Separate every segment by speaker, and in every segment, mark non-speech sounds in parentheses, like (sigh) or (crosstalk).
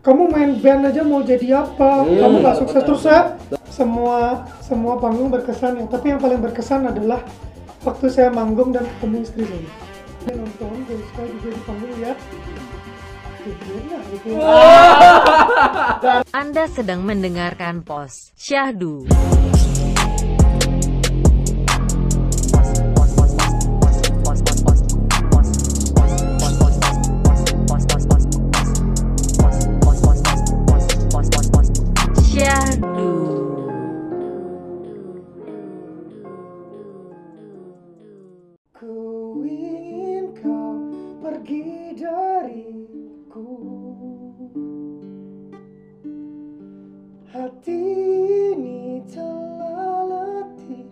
Speaker 1: kamu main band aja mau jadi apa
Speaker 2: Hmm,
Speaker 1: kamu nggak sukses
Speaker 2: betul.
Speaker 1: terus saya semua semua panggung berkesan ya tapi yang paling berkesan adalah waktu saya manggung dan ketemu istri saya Dia nonton terus saya juga di panggung lihat Gimana gitu.
Speaker 3: Anda sedang mendengarkan pos Syahdu. Syahdu.
Speaker 1: Ku ingin kau pergi dariku Hati ini telah letih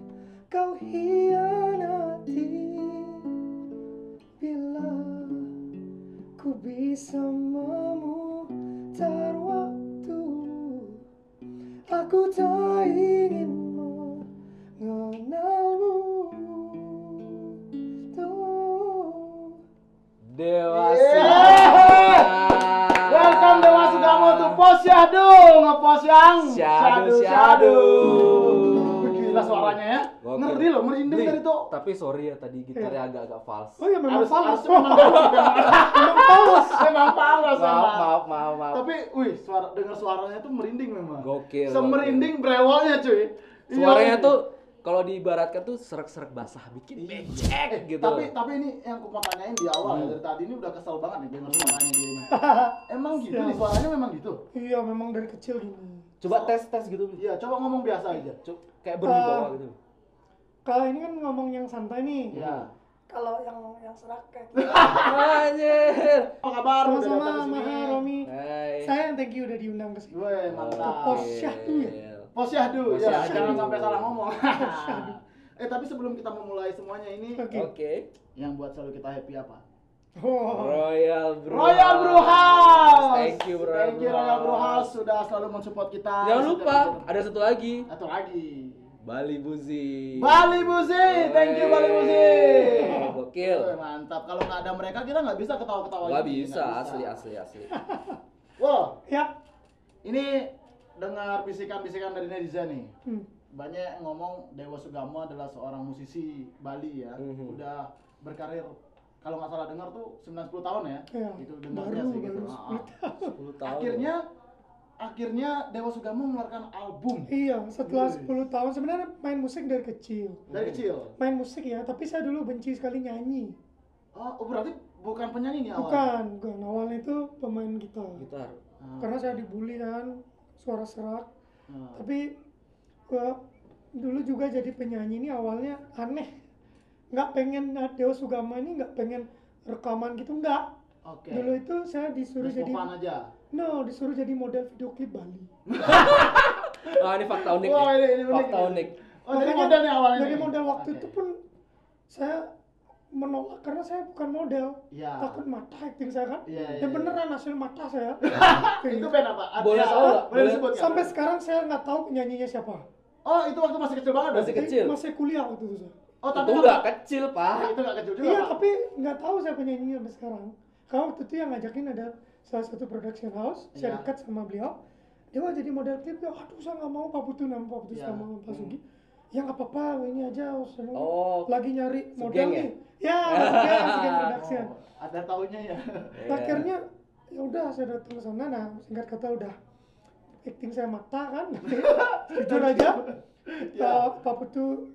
Speaker 1: Kau hianati Bila ku bisa memutar waktu Aku tak ingin mengenalmu
Speaker 2: Dewasa.
Speaker 4: Welcome Dewas kamu tuh pos syahdu ngepost yang
Speaker 2: Syahdu, syahdu.
Speaker 4: Gila suaranya ya.
Speaker 2: Gokil.
Speaker 4: Ngerti loh, merinding
Speaker 2: Li,
Speaker 4: tadi tuh.
Speaker 2: Tapi sorry ya tadi gitarnya agak-agak fals.
Speaker 1: Oh iya memang
Speaker 4: Harus
Speaker 1: salah.
Speaker 4: harus memang (laughs) memang paus, memang paus
Speaker 2: Maaf,
Speaker 4: memang.
Speaker 2: maaf, maaf, maaf.
Speaker 4: Tapi wih, suara dengar suaranya tuh merinding memang.
Speaker 2: Gokil,
Speaker 4: Semerinding brewolnya cuy. Iya,
Speaker 2: Suaranya
Speaker 4: iya.
Speaker 2: tuh kalau diibaratkan tuh serak-serak basah bikin becek gitu.
Speaker 4: Eh,
Speaker 2: Hmm.
Speaker 4: Tapi tapi ini yang aku mau tanyain di awal ya, dari tadi ini udah kesel banget nih denger suaranya dia
Speaker 2: (laughs)
Speaker 4: ini. Emang gitu nih suaranya memang gitu.
Speaker 1: Iya memang dari kecil gini.
Speaker 2: coba tes-tes gitu.
Speaker 4: Iya, coba ngomong biasa aja.
Speaker 2: Cuk, kayak
Speaker 4: Eh.
Speaker 2: berwibawa gitu.
Speaker 1: Kalau ini kan ngomong yang santai nih.
Speaker 4: Iya.
Speaker 1: Kalau yang yang serak kayak
Speaker 2: Anjir.
Speaker 4: Apa kabar? Udah datang
Speaker 1: sama-sama
Speaker 4: ke sini.
Speaker 1: Maha Romi.
Speaker 2: Hai.
Speaker 1: Saya yang thank you udah diundang ke sini.
Speaker 4: Woi,
Speaker 1: Pos
Speaker 4: mantap.
Speaker 1: Syahdu ya?
Speaker 4: Posyahdu,
Speaker 2: Pos
Speaker 4: ya
Speaker 2: Syahdu.
Speaker 4: jangan sampai salah
Speaker 2: (laughs)
Speaker 4: ngomong. eh tapi sebelum kita memulai semuanya
Speaker 2: (laughs)
Speaker 4: ini,
Speaker 1: Oke.
Speaker 2: Oke.
Speaker 4: yang buat selalu kita happy apa?
Speaker 1: Oh.
Speaker 2: Royal Brew.
Speaker 4: Royal Brew House.
Speaker 2: Thank you Royal
Speaker 4: Thank you Royal Brew House sudah selalu mensupport kita.
Speaker 2: Jangan
Speaker 4: Sudah
Speaker 2: lupa
Speaker 4: mensupport-
Speaker 2: ada satu lagi.
Speaker 4: Satu lagi.
Speaker 2: Bali Buzi.
Speaker 4: Bali Buzi, thank you Bali Buzi.
Speaker 2: Woi, Gokil.
Speaker 4: Woi, mantap. Kalau nggak ada mereka kita nggak bisa ketawa-ketawa.
Speaker 2: Gak
Speaker 4: gini,
Speaker 2: bisa,
Speaker 4: nggak
Speaker 2: asli asli asli.
Speaker 4: Wow,
Speaker 1: Ya.
Speaker 4: ini dengar bisikan-bisikan dari netizen nih.
Speaker 1: Hmm.
Speaker 4: banyak yang ngomong Dewa Sugama adalah seorang musisi Bali ya
Speaker 2: Mhm.
Speaker 4: udah berkarir kalau nggak salah dengar tuh 9-10 tahun ya
Speaker 1: Iya.
Speaker 4: itu dengarnya
Speaker 1: Baru,
Speaker 4: sih gitu
Speaker 1: baru
Speaker 4: Ah, ah.
Speaker 1: 10
Speaker 2: 10 tahun. ya.
Speaker 4: akhirnya akhirnya Dewa Sugama mengeluarkan album
Speaker 1: Iya, setelah
Speaker 4: Wih.
Speaker 1: 10 tahun sebenarnya main musik dari kecil.
Speaker 2: Iya.
Speaker 4: dari kecil
Speaker 1: Main musik ya, tapi saya dulu benci sekali nyanyi.
Speaker 4: oh oh, berarti bukan penyanyi nih awal
Speaker 1: Bukan, bukan. Awalnya itu pemain gitar.
Speaker 2: gitar.
Speaker 1: Karena saya dibully kan, suara serak.
Speaker 4: Ah.
Speaker 1: tapi gua dulu juga jadi penyanyi ini awalnya aneh nggak pengen nah, Dewa Sugama ini nggak pengen rekaman gitu nggak
Speaker 4: oke
Speaker 1: dulu itu saya disuruh
Speaker 4: terus
Speaker 1: jadi
Speaker 4: Popan aja
Speaker 1: no disuruh jadi model video klip Bali
Speaker 2: Ah ini fakta unik.
Speaker 4: Wah,
Speaker 2: nih.
Speaker 4: ini- ini unik
Speaker 2: fakta
Speaker 4: nih.
Speaker 2: unik.
Speaker 4: oh jadi model nih awalnya
Speaker 1: dari
Speaker 4: nih.
Speaker 1: model waktu
Speaker 4: Oke.
Speaker 1: itu pun saya menolak karena saya bukan model
Speaker 4: Iya.
Speaker 1: takut mata acting saya kan
Speaker 4: Iya, iya,
Speaker 1: ya
Speaker 4: iya.
Speaker 1: beneran hasil mata saya Kayak
Speaker 4: (laughs) Ah, itu
Speaker 1: gitu.
Speaker 4: band apa Ada-
Speaker 2: Boleh tahu nggak?
Speaker 4: boleh
Speaker 2: Boleh.
Speaker 4: disebut nggak?
Speaker 1: sampai sekarang saya nggak tahu penyanyinya siapa
Speaker 4: oh itu waktu masih kecil banget
Speaker 2: Masih
Speaker 4: berarti?
Speaker 2: Kecil.
Speaker 1: masih kuliah waktu itu saya
Speaker 4: oh tapi
Speaker 2: Itu nggak Kan- kecil
Speaker 4: Ah,
Speaker 2: pak.
Speaker 4: itu nggak kecil juga
Speaker 1: Iya,
Speaker 4: Pak.
Speaker 1: tapi nggak tahu saya penyanyinya sampai sekarang. Karena waktu itu yang ngajakin ada salah satu production house, saya
Speaker 4: Iya.
Speaker 1: dekat sama beliau. Dia mau jadi model klip, ya aduh saya nggak mau Pak Putu nama Pak Putu
Speaker 4: Iya.
Speaker 1: sama Pak Sugi. Ya nggak apa-apa, ini aja saya
Speaker 2: Oh.
Speaker 1: lagi nyari
Speaker 2: Segeng
Speaker 1: model
Speaker 2: ya?
Speaker 1: nih. Ya,
Speaker 2: (laughs)
Speaker 1: segeng, segeng production.
Speaker 4: Oh, ada tahunnya
Speaker 1: (laughs)
Speaker 4: ya.
Speaker 2: Iya.
Speaker 1: Akhirnya ya udah saya datang ke sana, nah singkat kata udah acting saya mata
Speaker 2: (laughs)
Speaker 1: kan, jujur aja.
Speaker 2: Ya.
Speaker 1: Eh, Pak Putu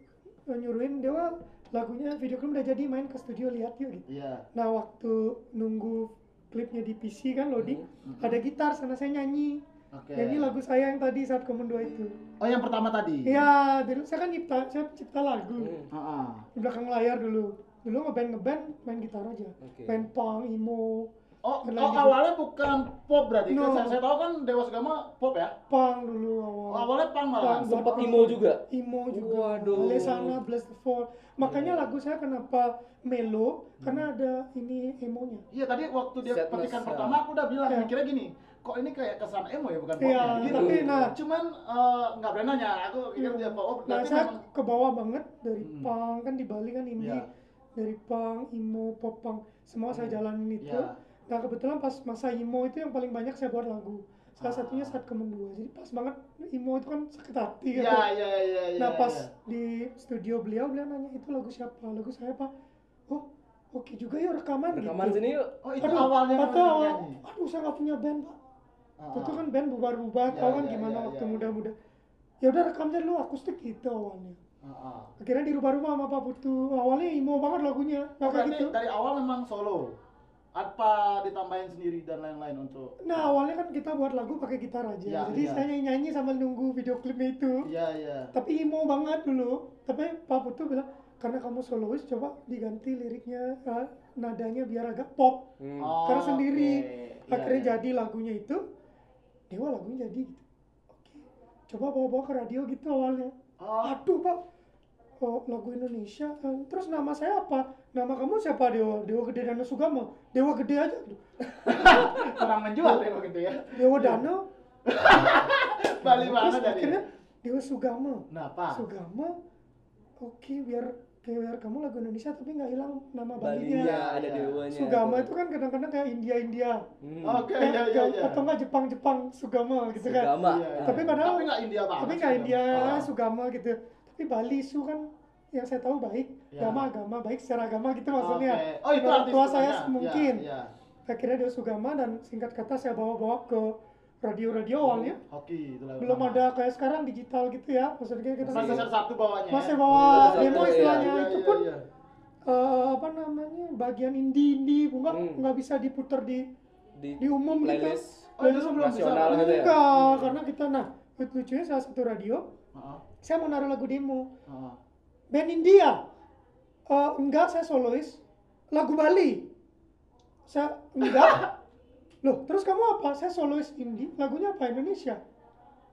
Speaker 1: nyuruhin Dewa lagunya video klip udah jadi main ke studio lihat yuk gitu.
Speaker 4: Iya.
Speaker 1: Nah waktu nunggu klipnya di PC kan loading,
Speaker 2: Hmm.
Speaker 1: ada gitar sana saya nyanyi.
Speaker 4: Oke.
Speaker 1: Nyanyi lagu saya yang tadi saat Common Dua itu.
Speaker 2: Hmm.
Speaker 4: Oh, yang pertama tadi. Ah,
Speaker 1: Iya, dulu saya kan nyipta, saya pencipta lagu
Speaker 2: Hmm.
Speaker 4: Heeh.
Speaker 1: di belakang layar dulu. Dulu ngeband ngeband main gitar aja,
Speaker 2: Oke.
Speaker 1: main punk, emo,
Speaker 4: Oh,
Speaker 1: Kenal
Speaker 4: oh
Speaker 1: juga.
Speaker 4: awalnya bukan pop berarti.
Speaker 1: No.
Speaker 4: Kan saya, saya tahu kan Dewa Sugama pop ya.
Speaker 1: punk dulu
Speaker 4: Oh,
Speaker 1: awal.
Speaker 4: awalnya punk malah.
Speaker 1: Punk.
Speaker 2: Sempat emo juga.
Speaker 1: Emo juga,
Speaker 2: Waduh.
Speaker 1: Lesana, Bless the Fall. Makanya lagu saya kenapa melo,
Speaker 2: Hmm.
Speaker 1: karena ada ini emonya.
Speaker 4: Iya, tadi waktu dia
Speaker 2: Sadness,
Speaker 4: petikan
Speaker 2: ya.
Speaker 4: pertama aku udah bilang
Speaker 1: Iya.
Speaker 4: mikirnya gini, kok ini kayak kesan emo ya bukan pop
Speaker 1: Iya,
Speaker 4: ya? Gitu.
Speaker 1: tapi nah-
Speaker 4: cuman eh, nggak berani nanya. Aku pikir dia pop. Oh,
Speaker 1: Nah,
Speaker 4: berarti
Speaker 1: saya
Speaker 4: memang
Speaker 1: ke bawah banget dari
Speaker 4: Hmm.
Speaker 2: Ya.
Speaker 1: punk kan di Bali kan indie
Speaker 4: Iya.
Speaker 2: Hmm.
Speaker 1: dari punk, emo, pop punk semua saya jalanin itu.
Speaker 2: Ya.
Speaker 4: Iya.
Speaker 1: Nah kebetulan pas masa emo itu yang paling banyak saya buat lagu. Salah
Speaker 2: Ah.
Speaker 1: satunya saat kemen dua. Jadi pas banget emo itu kan sakit hati gitu.
Speaker 2: Ya,
Speaker 4: Iya, iya, iya, iya.
Speaker 1: nah pas
Speaker 4: iya.
Speaker 1: di studio beliau beliau nanya itu lagu siapa? Lagu saya pak. Oh oke juga ya rekaman,
Speaker 2: Rekaman
Speaker 1: gitu.
Speaker 2: sini yuk.
Speaker 4: Oh, itu
Speaker 1: Aduh,
Speaker 4: awalnya
Speaker 1: kata
Speaker 4: memang
Speaker 1: awal,
Speaker 4: nyanyi.
Speaker 1: aduh saya nggak punya band pak.
Speaker 4: Ah,
Speaker 1: Tentu kan band bubar-bubar,
Speaker 4: Ya,
Speaker 1: tau kan
Speaker 4: ya,
Speaker 1: gimana
Speaker 4: ya,
Speaker 1: waktu
Speaker 4: ya.
Speaker 1: muda-muda. Ya udah rekam aja dulu akustik gitu awalnya.
Speaker 4: ah, ah.
Speaker 1: Akhirnya di rumah-rumah sama Pak Putu. Awalnya emo banget lagunya, nggak kayak
Speaker 4: Berarti
Speaker 1: gitu.
Speaker 4: dari awal memang solo. Apa ditambahin sendiri dan lain-lain untuk
Speaker 1: Nah awalnya kan kita buat lagu pakai gitar aja.
Speaker 4: Ya,
Speaker 1: Jadi
Speaker 4: ya.
Speaker 1: saya nyanyi sambil nunggu video klipnya itu.
Speaker 4: Iya, iya.
Speaker 1: Tapi emo banget dulu. Tapi Pak Putu bilang karena kamu solois coba diganti liriknya eh, nadanya biar agak pop.
Speaker 2: Hmm.
Speaker 4: Oh,
Speaker 1: Karena sendiri.
Speaker 4: oke. Iya,
Speaker 1: Akhirnya
Speaker 4: iya.
Speaker 1: jadi lagunya itu Dewa lagunya jadi gitu. Oke. Coba bawa-bawa ke radio gitu awalnya.
Speaker 4: Oh,
Speaker 1: Aduh pak, oh, lagu Indonesia kan. Terus nama saya apa? Nama kamu siapa Dewa? Dewa Gede Dana Sugama? Dewa Gede aja. Aduh,
Speaker 4: kurang menjual ya begitu ya.
Speaker 1: Dewa Dana?
Speaker 4: Bali
Speaker 1: Terus
Speaker 4: banget dari.
Speaker 1: akhirnya Dewa Sugama.
Speaker 4: Nah, Pak.
Speaker 1: Sugama, oke biar biar kamu lagu Indonesia tapi nggak hilang nama
Speaker 2: Balinya
Speaker 1: Balinya.
Speaker 2: ada
Speaker 4: Iya.
Speaker 2: dewanya.
Speaker 1: Sugama itu kan kadang-kadang kayak India-India.
Speaker 2: Hmm.
Speaker 4: Oke,
Speaker 1: Kayak-
Speaker 4: iya, iya,
Speaker 1: kayak-
Speaker 4: iya.
Speaker 1: Atau nggak Jepang-Jepang Sugama gitu kan.
Speaker 2: Sugama.
Speaker 4: Iya, iya.
Speaker 2: Ah.
Speaker 1: eh, Tapi padahal-
Speaker 4: tapi nggak India banget.
Speaker 1: tapi nggak
Speaker 4: sih,
Speaker 1: India
Speaker 4: Bang.
Speaker 1: sugama gitu tapi Bali su kan yang saya tahu baik
Speaker 4: Ya.
Speaker 1: agama agama baik secara agama gitu
Speaker 4: Ah,
Speaker 1: maksudnya
Speaker 4: oke. Oh, itu
Speaker 1: Menurut
Speaker 4: artis
Speaker 1: tua saya
Speaker 4: sebenarnya.
Speaker 1: mungkin
Speaker 4: Iya,
Speaker 1: akhirnya dia sugama dan singkat kata saya bawa-bawa ke radio-radio awalnya
Speaker 4: iya. Hoki itu lagu
Speaker 1: belum
Speaker 4: lama.
Speaker 1: ada kayak sekarang digital gitu ya maksudnya kita
Speaker 4: Masih
Speaker 1: masih,
Speaker 4: satu satu bawahnya.
Speaker 1: masih
Speaker 4: ya?
Speaker 1: bawa
Speaker 2: Iya,
Speaker 1: demo
Speaker 2: iya,
Speaker 1: istilahnya
Speaker 4: Iya,
Speaker 1: itu
Speaker 4: iya,
Speaker 1: pun
Speaker 4: iya.
Speaker 1: eh, apa namanya bagian indie indie nggak
Speaker 2: Hmm.
Speaker 1: nggak bisa diputar di
Speaker 2: di,
Speaker 1: di umum
Speaker 2: playlist.
Speaker 1: gitu
Speaker 4: Oh, dulu belum bisa.
Speaker 2: Nasional gitu ya?
Speaker 1: enggak karena kita nah lucunya salah satu radio
Speaker 4: Heeh,
Speaker 1: saya mau naruh lagu demo
Speaker 4: heeh.
Speaker 1: band India Eh, enggak saya solois lagu Bali saya
Speaker 2: (laughs)
Speaker 1: enggak loh terus kamu apa saya solois indie lagunya apa Indonesia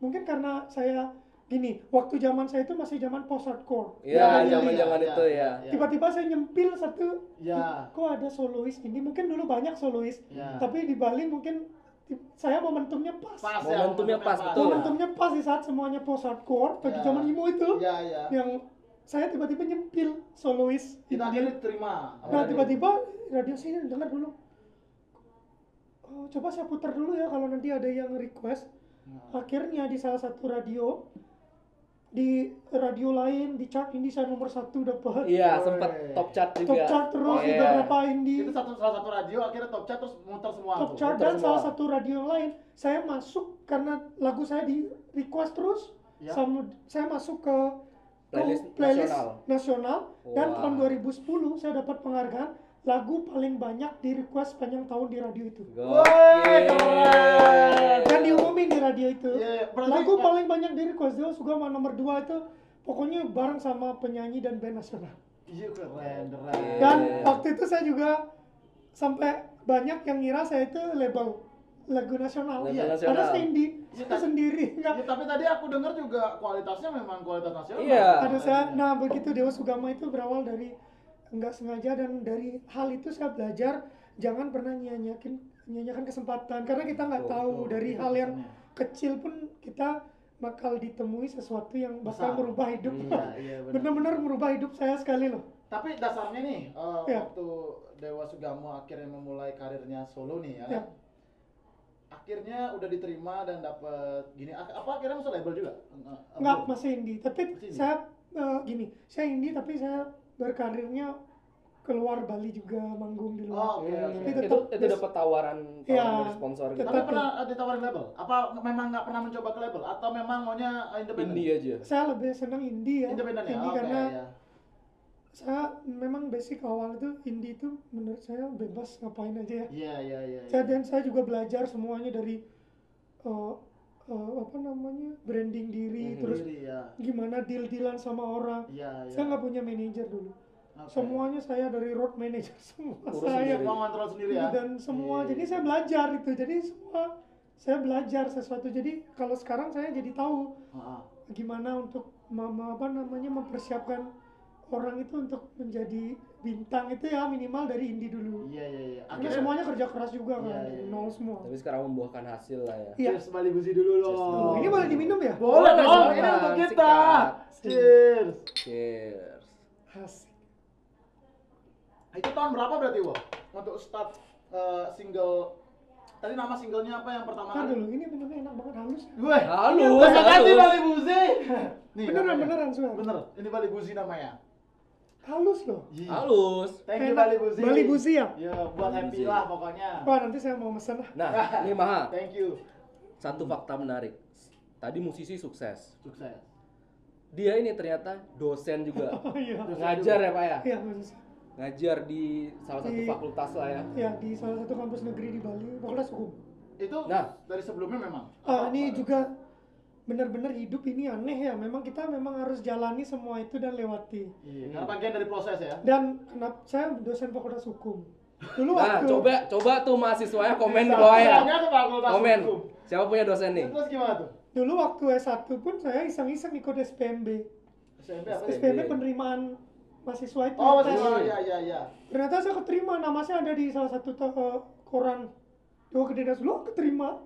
Speaker 1: mungkin karena saya gini waktu zaman saya itu masih zaman post hardcore
Speaker 2: Iya,
Speaker 4: Iya, iya,
Speaker 2: zaman-zaman
Speaker 4: iya,
Speaker 2: itu
Speaker 4: iya,
Speaker 2: ya.
Speaker 4: iya.
Speaker 1: tiba-tiba saya nyempil satu
Speaker 4: Iya.
Speaker 1: kok ada solois indie mungkin dulu banyak solois
Speaker 2: Ya.
Speaker 4: Iya.
Speaker 1: tapi di Bali mungkin ti- saya momentumnya pas,
Speaker 4: Pas ya,
Speaker 2: Momentumnya pas, betul.
Speaker 1: momentumnya pas di saat semuanya post hardcore bagi
Speaker 4: Iya.
Speaker 1: zaman emo itu
Speaker 4: Iya, iya.
Speaker 1: yang saya tiba-tiba nyempil solois
Speaker 2: Iya.
Speaker 4: Kita
Speaker 1: indie.
Speaker 4: akhirnya terima.
Speaker 1: Iya. Nah tiba-tiba radio sini dengar dulu. Oh, coba saya putar dulu ya kalau nanti ada yang request. Akhirnya di salah satu radio di radio lain di chart ini saya nomor satu dapat
Speaker 2: Iya, sempat top chart
Speaker 1: top
Speaker 2: juga.
Speaker 1: chart terus
Speaker 2: Iya.
Speaker 1: di beberapa indie
Speaker 4: itu satu salah satu radio akhirnya top chart terus muter semua
Speaker 1: top
Speaker 4: tuh.
Speaker 1: chart
Speaker 2: Muter
Speaker 1: dan salah
Speaker 2: semua.
Speaker 1: satu radio lain saya masuk karena lagu saya di request terus
Speaker 2: Iya.
Speaker 4: Ya.
Speaker 1: sama saya masuk ke ke
Speaker 2: Playlist
Speaker 1: Oh, playlist
Speaker 2: nasional.
Speaker 1: nasional, dan
Speaker 2: Wah.
Speaker 1: tahun 2010 saya dapat penghargaan lagu paling banyak di request sepanjang tahun di radio itu
Speaker 4: Woi, keren.
Speaker 1: dan diumumin di radio itu
Speaker 4: Iya, berarti-
Speaker 1: lagu paling banyak di request dia suka sama nomor 2 itu pokoknya bareng sama penyanyi dan band nasional
Speaker 4: iya keren keren
Speaker 1: dan
Speaker 2: Iya.
Speaker 1: waktu itu saya juga sampai banyak yang ngira saya itu label lagu nasional,
Speaker 2: Label
Speaker 1: Iya,
Speaker 2: nasional.
Speaker 1: karena saya indie
Speaker 4: Iya,
Speaker 1: saya
Speaker 4: tapi-
Speaker 1: sendiri (laughs) nggak
Speaker 4: Ya, tapi tadi aku dengar juga kualitasnya memang kualitas nasional.
Speaker 2: Iya.
Speaker 1: ada saya
Speaker 4: Iya.
Speaker 1: nah begitu Dewa Sugama itu berawal dari nggak sengaja dan dari hal itu saya belajar jangan pernah nyanyakin nyanyakan kesempatan karena kita nggak
Speaker 2: Betul,
Speaker 1: tahu
Speaker 4: Oh, betul.
Speaker 1: dari
Speaker 4: Itu
Speaker 1: hal yang
Speaker 4: pesannya.
Speaker 1: kecil pun kita bakal ditemui sesuatu yang bakal
Speaker 4: Besar.
Speaker 1: merubah (laughs) hidup
Speaker 2: Hmm.
Speaker 4: Iya, iya, benar.
Speaker 1: bener-bener merubah hidup saya sekali loh
Speaker 4: Tapi dasarnya nih eh,
Speaker 1: Iya.
Speaker 4: waktu Dewa Sugamo akhirnya memulai karirnya solo nih ya.
Speaker 1: Iya.
Speaker 4: Akhirnya udah diterima dan dapat gini ak- apa akhirnya masuk label juga? Eh, Nggak,
Speaker 1: nggak masih indie tapi
Speaker 4: Oh. Masih indie.
Speaker 1: saya eh, gini saya indie tapi saya berkarirnya keluar Bali juga manggung di luar
Speaker 4: Oh, oke. oke.
Speaker 1: Tapi tetap-
Speaker 2: itu itu dapat tawaran tawaran
Speaker 1: Iya.
Speaker 2: dari sponsor gitu.
Speaker 4: Tapi
Speaker 1: tetap-
Speaker 4: pernah eh, ditawarin label? Apa memang nggak pernah mencoba ke label? Atau memang maunya eh, independen?
Speaker 2: Indie aja.
Speaker 1: saya lebih senang indie ya
Speaker 4: Independen ya.
Speaker 1: indie
Speaker 4: Oke,
Speaker 1: karena
Speaker 4: ya.
Speaker 1: saya memang basic awal itu indie itu menurut saya bebas ngapain aja ya.
Speaker 4: Iya, iya, iya. iya.
Speaker 1: Saya dan saya juga belajar semuanya dari eh, eh, apa namanya branding diri
Speaker 2: Mhm.
Speaker 1: terus
Speaker 4: Sendiri, ya.
Speaker 1: gimana deal dealan sama orang.
Speaker 4: Iya, iya.
Speaker 1: Saya nggak punya manajer dulu.
Speaker 4: Oke.
Speaker 1: Semuanya saya dari road manager (laughs) semua
Speaker 2: Urus
Speaker 1: saya
Speaker 2: sendiri.
Speaker 4: Semua ngontrol sendiri ya.
Speaker 1: Iya, dan semua.
Speaker 4: Iya.
Speaker 1: Jadi saya belajar itu. Jadi semua saya belajar sesuatu. Jadi kalau sekarang saya jadi tahu
Speaker 4: Ah, ah.
Speaker 1: gimana untuk mama apa namanya mempersiapkan orang itu untuk menjadi bintang itu ya minimal dari indie dulu.
Speaker 4: Iya, iya, iya.
Speaker 1: Karena semuanya kerja keras juga kan,
Speaker 4: Iya, iya,
Speaker 1: dari
Speaker 4: iya.
Speaker 1: nol semua.
Speaker 2: Tapi sekarang membuahkan hasil lah ya.
Speaker 1: Iya.
Speaker 4: Cheers Bali Gusi dulu
Speaker 2: Cheers
Speaker 4: dong.
Speaker 2: dulu.
Speaker 1: Oh, ini boleh diminum ya?
Speaker 4: Boleh
Speaker 2: Boleh
Speaker 4: dong,
Speaker 2: dong,
Speaker 4: ini untuk
Speaker 2: Bang.
Speaker 4: kita.
Speaker 1: Sikat.
Speaker 4: Cheers.
Speaker 2: Cheers.
Speaker 1: Asik.
Speaker 4: Ah, Itu tahun berapa berarti, Wo? Untuk start eh, single tadi nama singlenya apa yang
Speaker 1: Ntar
Speaker 4: pertama kali?
Speaker 1: dulu, ini benernya enak banget halus.
Speaker 4: Gue.
Speaker 2: Halus,
Speaker 4: Terima kasih
Speaker 2: halus.
Speaker 4: Bali Buzi. Nih,
Speaker 1: Beneran,
Speaker 4: namanya.
Speaker 1: beneran, sumpah.
Speaker 4: iya. Bener. Ini Bali Buzi namanya.
Speaker 1: Halus loh.
Speaker 4: Iya.
Speaker 2: Halus.
Speaker 4: Thank you
Speaker 1: Enak.
Speaker 4: Bali Buzi.
Speaker 1: Bali Buzi ya?
Speaker 4: Iya, buat
Speaker 2: Bali
Speaker 4: happy
Speaker 2: Buzi.
Speaker 4: lah pokoknya.
Speaker 1: Wah, nanti saya mau mesen (laughs) lah.
Speaker 2: Nah, ini Maha,
Speaker 4: Thank you.
Speaker 2: satu fakta menarik. Tadi musisi sukses.
Speaker 4: Sukses.
Speaker 2: Dia ini ternyata dosen juga.
Speaker 1: Oh iya.
Speaker 2: Ngajar ya, Pak ya?
Speaker 1: Iya, maksudnya.
Speaker 2: Ngajar di salah satu
Speaker 1: Di-
Speaker 2: fakultas lah ya.
Speaker 1: Ya, di salah satu kampus negeri di Bali, Fakultas Hukum.
Speaker 4: Itu
Speaker 2: Nah.
Speaker 4: dari sebelumnya memang. Iya,
Speaker 1: Ah, ini juga benar-benar hidup ini aneh ya. Memang kita memang harus jalani semua itu dan lewati.
Speaker 4: Iya, karena bagian dari proses ya.
Speaker 1: Dan kenapa saya dosen Fakultas Hukum. Dulu
Speaker 2: Nah,
Speaker 1: waktu
Speaker 2: coba coba tuh mahasiswanya komen
Speaker 4: Iya,
Speaker 2: di bawah ya.
Speaker 4: Misalnya ke fakultas
Speaker 2: Komen.
Speaker 4: hukum.
Speaker 2: Siapa punya dosen nih?
Speaker 4: Terus gimana tuh?
Speaker 1: dulu waktu S1 pun saya iseng-iseng ikut SPMB.
Speaker 4: SMP apa sih?
Speaker 1: SPMB penerimaan mahasiswa itu.
Speaker 4: Oh,
Speaker 1: tes.
Speaker 4: masih ya ya ya.
Speaker 1: Ternyata saya keterima, nama saya ada di salah satu to- eh, koran. Dewa Gede Das, lo keterima.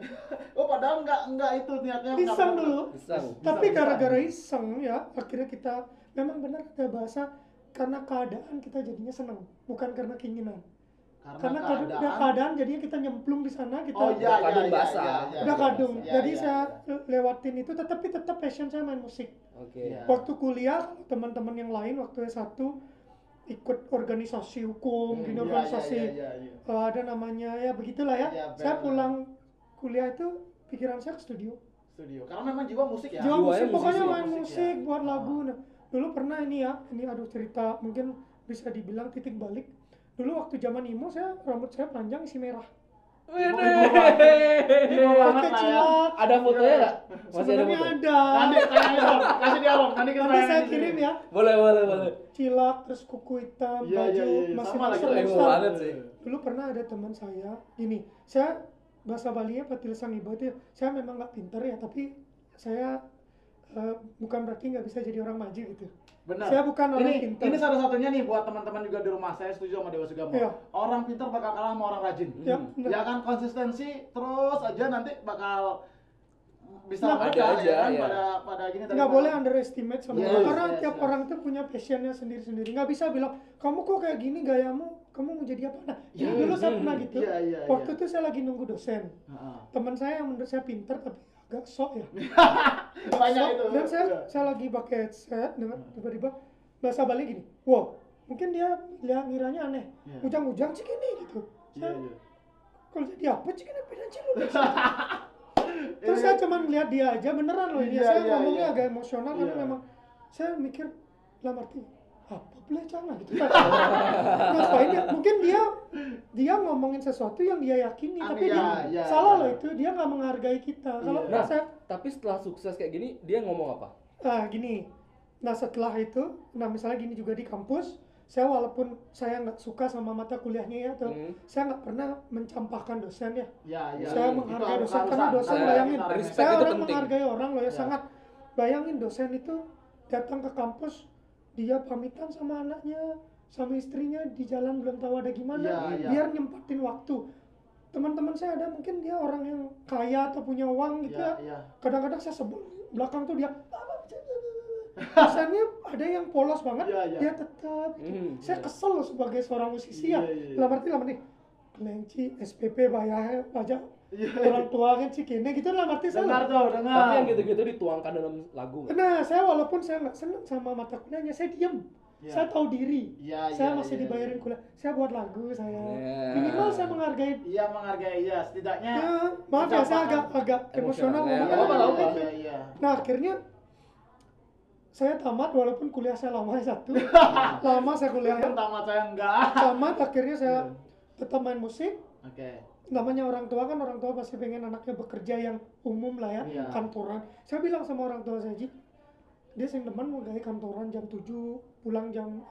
Speaker 4: Oh, padahal enggak enggak itu niatnya. enggak
Speaker 1: Iseng
Speaker 4: bener.
Speaker 1: dulu.
Speaker 2: Iseng.
Speaker 1: Tapi
Speaker 4: bisa.
Speaker 1: gara-gara iseng ya, akhirnya kita memang benar ada bahasa karena keadaan kita jadinya senang, bukan karena keinginan. Karena
Speaker 4: Karena,
Speaker 1: keadaan, udah
Speaker 4: keadaan.
Speaker 1: keadaan jadinya kita nyemplung di sana kita
Speaker 4: Oh iya,
Speaker 2: Udah
Speaker 4: iya,
Speaker 2: kadung
Speaker 4: iya,
Speaker 2: basah.
Speaker 4: iya, iya,
Speaker 1: udah
Speaker 4: iya,
Speaker 1: kadung.
Speaker 4: iya,
Speaker 1: Jadi
Speaker 4: iya,
Speaker 1: saya
Speaker 4: iya.
Speaker 1: lewatin itu tetapi tetap passion saya main musik.
Speaker 2: Oke.
Speaker 4: Iya.
Speaker 1: Waktu kuliah teman-teman yang lain waktu S1 ikut organisasi hukum,
Speaker 2: Hmm,
Speaker 1: gini
Speaker 4: Iya, iya,
Speaker 1: organisasi
Speaker 4: iya, iya, iya.
Speaker 1: eh, ada namanya ya begitulah ya.
Speaker 4: Iya,
Speaker 1: saya
Speaker 4: benar.
Speaker 1: pulang kuliah itu pikiran saya ke studio.
Speaker 4: Studio. Karena memang jiwa musik ya.
Speaker 1: Jiwa
Speaker 2: Jiwanya
Speaker 1: musik, pokoknya
Speaker 2: musisi,
Speaker 1: main musik,
Speaker 4: musik, ya.
Speaker 1: buat
Speaker 4: Ah.
Speaker 1: lagu. Nah, dulu pernah ini ya, ini aduh cerita mungkin bisa dibilang titik balik. Dulu waktu zaman emo saya rambut saya panjang isi merah.
Speaker 4: Jiwa banget
Speaker 1: Pakai
Speaker 4: lah ya.
Speaker 1: cilok.
Speaker 2: Ada fotonya nggak? Masih ada
Speaker 1: Sebenarnya
Speaker 2: foto?
Speaker 1: ada.
Speaker 4: Nanti tanyain dong, kasih dia dong. Nanti kita
Speaker 1: Nanti
Speaker 4: tanyain
Speaker 1: saya
Speaker 4: di sini.
Speaker 1: kirim ya.
Speaker 2: Boleh, boleh, boleh.
Speaker 1: Cilak terus kuku hitam,
Speaker 4: Iya,
Speaker 1: baju
Speaker 4: iya, iya, iya.
Speaker 1: masih
Speaker 4: Sama lagi,
Speaker 1: monster,
Speaker 2: Emo
Speaker 1: monster.
Speaker 2: banget sih.
Speaker 1: Dulu pernah ada teman saya, gini, saya bahasa Bali ya petilasan ibu itu, saya memang nggak pinter ya, tapi saya eh, bukan berarti nggak bisa jadi orang maju gitu.
Speaker 4: Benar.
Speaker 1: Saya bukan orang
Speaker 4: ini,
Speaker 1: pintar.
Speaker 4: Ini salah satunya nih buat teman-teman juga di rumah saya setuju sama Dewa Sugamo.
Speaker 1: Iya.
Speaker 4: Orang pintar bakal kalah sama orang rajin.
Speaker 1: Ya,
Speaker 2: Hmm.
Speaker 1: bener.
Speaker 4: Ya kan konsistensi terus aja nanti bakal bisa
Speaker 1: Nah,
Speaker 4: merdeka,
Speaker 2: ada aja,
Speaker 4: ya kan
Speaker 2: iya.
Speaker 4: pada pada gini tadi
Speaker 1: nggak
Speaker 4: Pak.
Speaker 1: boleh underestimate sama
Speaker 4: Yes,
Speaker 1: orang karena
Speaker 4: yes,
Speaker 1: tiap
Speaker 4: yes.
Speaker 1: orang tuh punya passionnya sendiri-sendiri nggak bisa bilang kamu kok kayak gini gayamu kamu mau jadi apa nah jadi
Speaker 4: Yes,
Speaker 1: dulu saya
Speaker 2: yes.
Speaker 1: pernah gitu
Speaker 4: Iya, iya,
Speaker 1: waktu
Speaker 4: iya.
Speaker 1: itu saya lagi nunggu dosen
Speaker 4: Heeh.
Speaker 1: teman saya yang menurut saya pinter tapi agak sok ya
Speaker 4: Banyak
Speaker 1: Sok.
Speaker 4: itu.
Speaker 1: Nah, dan saya
Speaker 4: Iya.
Speaker 1: saya lagi pakai headset dengan tiba-tiba bahasa Bali gini wow mungkin dia lihat ngiranya aneh
Speaker 4: Iya.
Speaker 1: ujang-ujang sih gini gitu
Speaker 4: Iya,
Speaker 1: saya
Speaker 4: iya.
Speaker 1: kalau jadi apa sih kena beda
Speaker 4: (laughs)
Speaker 1: sih lu?" terus saya cuman lihat dia aja beneran loh ini
Speaker 4: Iya,
Speaker 1: saya
Speaker 4: iya,
Speaker 1: ngomongnya
Speaker 4: iya.
Speaker 1: agak emosional karena
Speaker 4: Iya.
Speaker 1: memang saya mikir dalam arti apa belecang lah
Speaker 4: (laughs)
Speaker 1: gitu kan ngapain ya mungkin dia dia ngomongin sesuatu yang dia yakini
Speaker 4: Ah,
Speaker 1: tapi
Speaker 4: iya,
Speaker 1: dia
Speaker 4: iya,
Speaker 1: salah
Speaker 4: iya.
Speaker 1: loh itu dia nggak menghargai kita kalau
Speaker 4: Iya.
Speaker 2: Nah,
Speaker 1: saya
Speaker 2: tapi setelah sukses kayak gini, dia ngomong apa?
Speaker 1: ah gini nah setelah itu nah misalnya gini juga di kampus saya walaupun saya nggak suka sama mata kuliahnya ya atau
Speaker 2: Hmm.
Speaker 1: saya nggak pernah mencampahkan dosen ya
Speaker 4: Iya, iya.
Speaker 1: saya
Speaker 4: Itu
Speaker 1: menghargai dosen
Speaker 4: keharusan.
Speaker 1: karena dosen
Speaker 4: Iya,
Speaker 1: bayangin
Speaker 4: kita
Speaker 1: saya
Speaker 2: respect itu
Speaker 1: orang
Speaker 2: penting.
Speaker 1: menghargai orang loh ya,
Speaker 4: Ya.
Speaker 1: sangat bayangin dosen itu datang ke kampus dia pamitan sama anaknya sama istrinya di jalan belum tahu ada gimana
Speaker 4: Ya, ya.
Speaker 1: biar nyempatin waktu teman-teman saya ada mungkin dia orang yang kaya atau punya uang gitu
Speaker 4: Iya,
Speaker 1: ya
Speaker 4: iya.
Speaker 1: kadang-kadang saya sebel belakang tuh dia dosennya ada yang polos banget
Speaker 4: Ya, ya.
Speaker 1: dia tetap gitu.
Speaker 2: Hmm,
Speaker 1: saya
Speaker 2: iya.
Speaker 1: kesel loh sebagai seorang musisi
Speaker 4: Iya,
Speaker 1: ya
Speaker 4: iya, iya.
Speaker 1: dalam arti dalam arti kelinci SPP bayar
Speaker 4: (laughs)
Speaker 1: pajak
Speaker 4: Iya.
Speaker 1: orang tua kan cikini gitu dalam arti saya
Speaker 4: Dengar tuh,
Speaker 2: Tapi
Speaker 4: dengar.
Speaker 2: yang
Speaker 1: gitu-
Speaker 2: gitu-gitu dituangkan dalam lagu (laughs) nggak?
Speaker 1: nah saya walaupun saya nggak seneng sama mata kuliahnya saya diem
Speaker 4: Iya.
Speaker 1: saya tahu diri
Speaker 4: Iya,
Speaker 1: saya
Speaker 4: iya,
Speaker 1: masih
Speaker 4: iya,
Speaker 1: dibayarin
Speaker 4: iya.
Speaker 1: kuliah saya buat lagu saya
Speaker 2: Iya.
Speaker 1: minimal saya menghargai
Speaker 4: Iya, menghargai ya, setidaknya.
Speaker 1: ya, maaf ya saya
Speaker 4: Ucapan.
Speaker 1: agak agak
Speaker 2: Emosional,
Speaker 1: emosional
Speaker 2: ya.
Speaker 1: ngomong
Speaker 2: Nggak apa-apa, nggak apa-apa.
Speaker 4: Iya, iya.
Speaker 1: nah akhirnya saya tamat walaupun kuliah saya lama (laughs) satu lama saya kuliah
Speaker 4: Yang tamat saya enggak.
Speaker 1: tamat akhirnya saya
Speaker 4: Iya.
Speaker 1: tetap main musik
Speaker 4: Oke.
Speaker 1: namanya orang tua kan orang tua pasti pengen anaknya bekerja yang umum lah ya
Speaker 4: Iya.
Speaker 1: kantoran saya bilang sama orang tua saya Ji dia sering demen mau gaya kantoran jam 7 pulang jam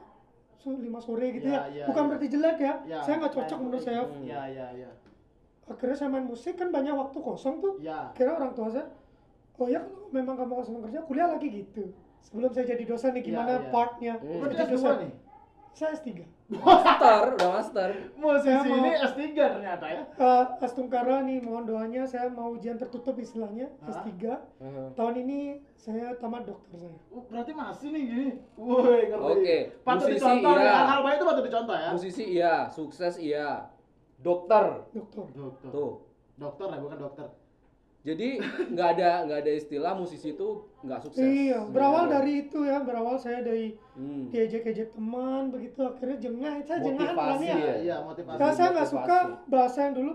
Speaker 1: su- 5 sore gitu
Speaker 4: Iya,
Speaker 1: ya
Speaker 4: iya,
Speaker 1: bukan
Speaker 4: iya.
Speaker 1: berarti jelek ya,
Speaker 4: Ya,
Speaker 1: saya nggak cocok menurut saya
Speaker 2: Ya,
Speaker 4: Iya, iya, iya.
Speaker 1: akhirnya saya main musik kan banyak waktu kosong tuh
Speaker 2: Ya.
Speaker 4: Iya.
Speaker 1: akhirnya orang tua saya oh ya kalau memang kamu kosong kerja kuliah lagi gitu sebelum saya jadi dosen nih
Speaker 4: Iya,
Speaker 1: gimana
Speaker 4: iya.
Speaker 1: partnya
Speaker 2: Hmm.
Speaker 4: Berarti
Speaker 1: Jadi
Speaker 4: S2
Speaker 1: dosen.
Speaker 4: nih.
Speaker 1: saya S3
Speaker 2: Master, udah master.
Speaker 1: Saya
Speaker 4: Musisi
Speaker 1: mau-
Speaker 4: ini S3 ternyata ya.
Speaker 1: Eh, Astungkara nih mohon doanya saya mau ujian tertutup istilahnya
Speaker 2: Ah.
Speaker 4: Hah?
Speaker 1: S3
Speaker 2: Hmm.
Speaker 1: Tahun ini saya tamat dokter saya.
Speaker 4: Oh, berarti masih nih gini. Woi, ngerti.
Speaker 2: Oke,
Speaker 4: Patut
Speaker 2: musisi,
Speaker 4: dicontoh
Speaker 2: iya.
Speaker 4: ya. Hal baik itu patut dicontoh ya.
Speaker 2: Musisi iya, sukses iya. dokter
Speaker 1: dokter
Speaker 4: Dokter.
Speaker 2: tuh.
Speaker 4: Dokter ya, bukan dokter.
Speaker 2: Jadi nggak ada nggak ada istilah musisi itu nggak sukses.
Speaker 1: iya berawal
Speaker 2: Gitu.
Speaker 1: dari itu ya berawal saya dari
Speaker 2: Hmm.
Speaker 1: diejek-ejek teman begitu akhirnya jengah saya jengahan
Speaker 2: Motivasi
Speaker 1: bilangnya
Speaker 2: Iya.
Speaker 4: Iya, iya motivasi.
Speaker 1: Karena saya nggak
Speaker 2: motivasi.
Speaker 1: suka bahasa yang dulu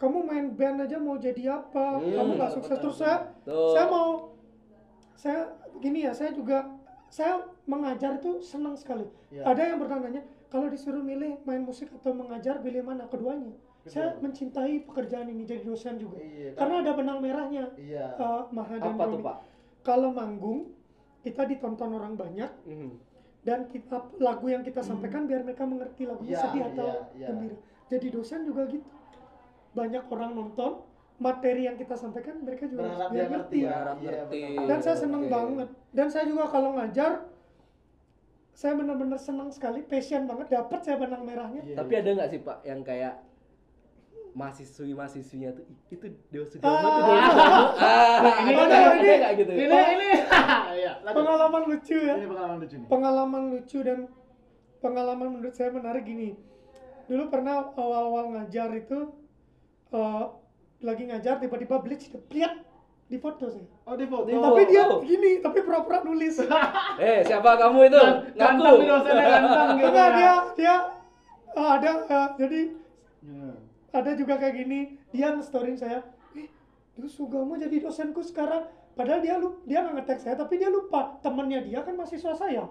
Speaker 1: kamu main band aja mau jadi apa
Speaker 2: Hmm.
Speaker 1: kamu nggak sukses terus saya
Speaker 2: Tuh.
Speaker 4: Oh.
Speaker 1: saya mau saya gini ya saya juga saya mengajar itu senang sekali
Speaker 4: Iya.
Speaker 1: ada yang bertanya kalau disuruh milih main musik atau mengajar pilih mana keduanya saya
Speaker 4: Betul.
Speaker 1: mencintai pekerjaan ini jadi dosen juga
Speaker 4: Iya.
Speaker 1: karena ada benang merahnya
Speaker 4: Iya.
Speaker 1: eh, Maha dan
Speaker 2: apa tuh
Speaker 1: Romi.
Speaker 2: pak?
Speaker 1: kalau manggung kita ditonton orang banyak
Speaker 2: Mhm.
Speaker 1: dan kita lagu yang kita sampaikan biar mereka mengerti lagunya
Speaker 4: Hmm. Iya,
Speaker 1: sedih atau
Speaker 4: iya, iya.
Speaker 1: gembira. Jadi dosen juga gitu. Banyak orang nonton materi yang kita sampaikan mereka juga harus
Speaker 4: Berharap dia
Speaker 1: biar
Speaker 4: ngerti ya.
Speaker 2: Berharap
Speaker 4: Iya,
Speaker 2: ngerti.
Speaker 4: benar.
Speaker 1: iya. Dan saya seneng
Speaker 2: Oke.
Speaker 1: banget. Dan saya juga kalau ngajar saya benar-benar senang sekali, passion banget, dapat saya benang merahnya.
Speaker 4: Iya,
Speaker 2: Tapi ada nggak sih pak yang kayak mahasiswi mahasiswinya tuh "Ih, itu Dewa Sudarma tuh Dewa
Speaker 1: Ah,
Speaker 2: Sudarmo." Ah, ada
Speaker 4: ini-
Speaker 1: ini-
Speaker 2: nggak- ada
Speaker 1: ini-
Speaker 2: nggak gitu?
Speaker 4: Ini
Speaker 1: Pak-
Speaker 4: ini. (laughs) Iya, lanjut.
Speaker 1: pengalaman lucu ya.
Speaker 4: Ini pengalaman lucu nih.
Speaker 1: pengalaman lucu dan pengalaman menurut saya menarik gini dulu pernah awal-awal ngajar itu eh, lagi ngajar tiba-tiba bleach depliat di foto saya
Speaker 4: Oh, Iya. di foto.
Speaker 2: Di foto.
Speaker 1: tapi dia
Speaker 2: Oh.
Speaker 1: gini tapi pura-pura
Speaker 4: (laughs)
Speaker 1: nulis
Speaker 2: Eh siapa kamu itu? Ngaku.
Speaker 4: Ganteng nih
Speaker 2: (laughs)
Speaker 4: dosennya ganteng gitu.
Speaker 1: enggak
Speaker 4: ya.
Speaker 1: dia dia eh, ada eh, jadi
Speaker 4: Iya.
Speaker 1: ada juga kayak gini dia nge-storyin saya eh dulu Sugamo jadi dosenku sekarang padahal dia lu dia nggak ngetek saya tapi dia lupa temennya dia kan mahasiswa
Speaker 4: (laughs)
Speaker 1: saya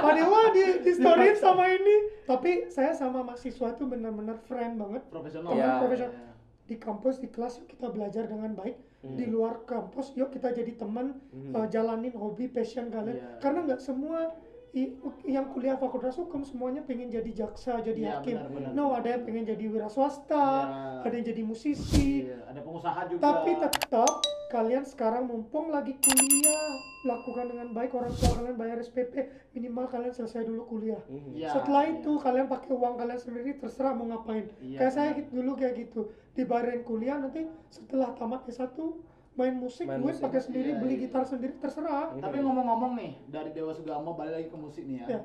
Speaker 1: Pak Dewa di, di storyin sama ini tapi saya sama mahasiswa itu benar-benar friend banget
Speaker 4: Profesional.
Speaker 2: Iya.
Speaker 1: Profesional. di kampus di kelas yuk kita belajar dengan baik
Speaker 4: Hmm.
Speaker 1: di luar kampus yuk kita jadi teman
Speaker 2: Hmm.
Speaker 1: eh, jalanin hobi passion kalian
Speaker 4: Iya.
Speaker 1: karena nggak semua i- yang kuliah fakultas hukum semuanya pengen jadi jaksa
Speaker 4: Iya,
Speaker 1: jadi hakim
Speaker 4: benar-benar.
Speaker 1: no ada yang pengen jadi wira swasta
Speaker 4: Iya.
Speaker 1: ada yang jadi musisi
Speaker 4: Iya, ada pengusaha juga.
Speaker 1: tapi tetap kalian sekarang mumpung lagi kuliah lakukan dengan baik orang tua kalian bayar SPP minimal kalian selesai dulu kuliah
Speaker 2: Mhm.
Speaker 4: Iya,
Speaker 1: setelah
Speaker 4: iya.
Speaker 1: itu kalian pakai uang kalian sendiri terserah mau ngapain
Speaker 2: Ya,
Speaker 4: Iya,
Speaker 1: kayak saya
Speaker 4: benar.
Speaker 1: dulu kayak gitu dibayarin kuliah nanti setelah tamat S1 main musik
Speaker 2: Main
Speaker 1: gue
Speaker 2: musik, Ya,
Speaker 1: pakai sendiri
Speaker 4: iya,
Speaker 1: beli
Speaker 4: iya.
Speaker 1: gitar sendiri terserah
Speaker 2: Iya.
Speaker 4: Tapi ngomong-ngomong nih dari Dewa Sugamo balik lagi ke musik nih ya.
Speaker 1: Iya.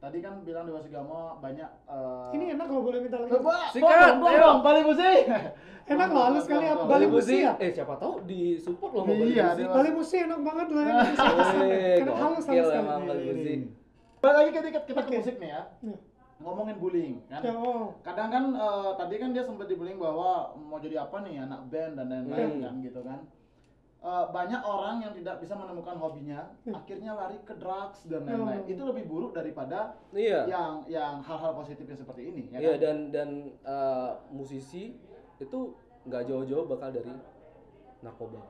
Speaker 4: Tadi kan bilang Dewa Sugamo banyak eh,
Speaker 1: ini enak kalau boleh minta lagi
Speaker 4: Coba,
Speaker 2: Sikat,
Speaker 4: sikat,
Speaker 2: ayo.
Speaker 4: ayo balik musik.
Speaker 1: Enak loh, halus kali ya,
Speaker 2: Bali
Speaker 1: Bali
Speaker 2: Musi.
Speaker 1: Musi ya?
Speaker 2: Eh siapa tahu di support loh
Speaker 4: Iya,
Speaker 2: Bali Musi.
Speaker 4: Dewa.
Speaker 1: Bali musik enak banget lah ya.
Speaker 2: Eh,
Speaker 1: Enak halus
Speaker 2: gokil
Speaker 1: halus sekali. Ya.
Speaker 2: emang. Balik musik.
Speaker 4: Balik lagi ke tiket kita ke
Speaker 1: Oke.
Speaker 4: musik nih ya.
Speaker 1: Iya.
Speaker 4: Ngomongin bullying kan.
Speaker 1: Ya, oh.
Speaker 4: Kadang kan eh, tadi kan dia sempat dibullying bahwa mau jadi apa nih anak band dan lain-lain
Speaker 2: Hmm.
Speaker 4: kan gitu kan. Eh, banyak orang yang tidak bisa menemukan hobinya,
Speaker 1: Iya.
Speaker 4: akhirnya lari ke drugs dan lain-lain.
Speaker 1: Oh.
Speaker 4: Itu lebih buruk daripada
Speaker 2: Iya.
Speaker 4: yang yang hal-hal positifnya seperti ini ya.
Speaker 2: Iya
Speaker 4: kan? (laughs)
Speaker 2: dan dan eh, musisi itu nggak jauh-jauh bakal dari narkoba,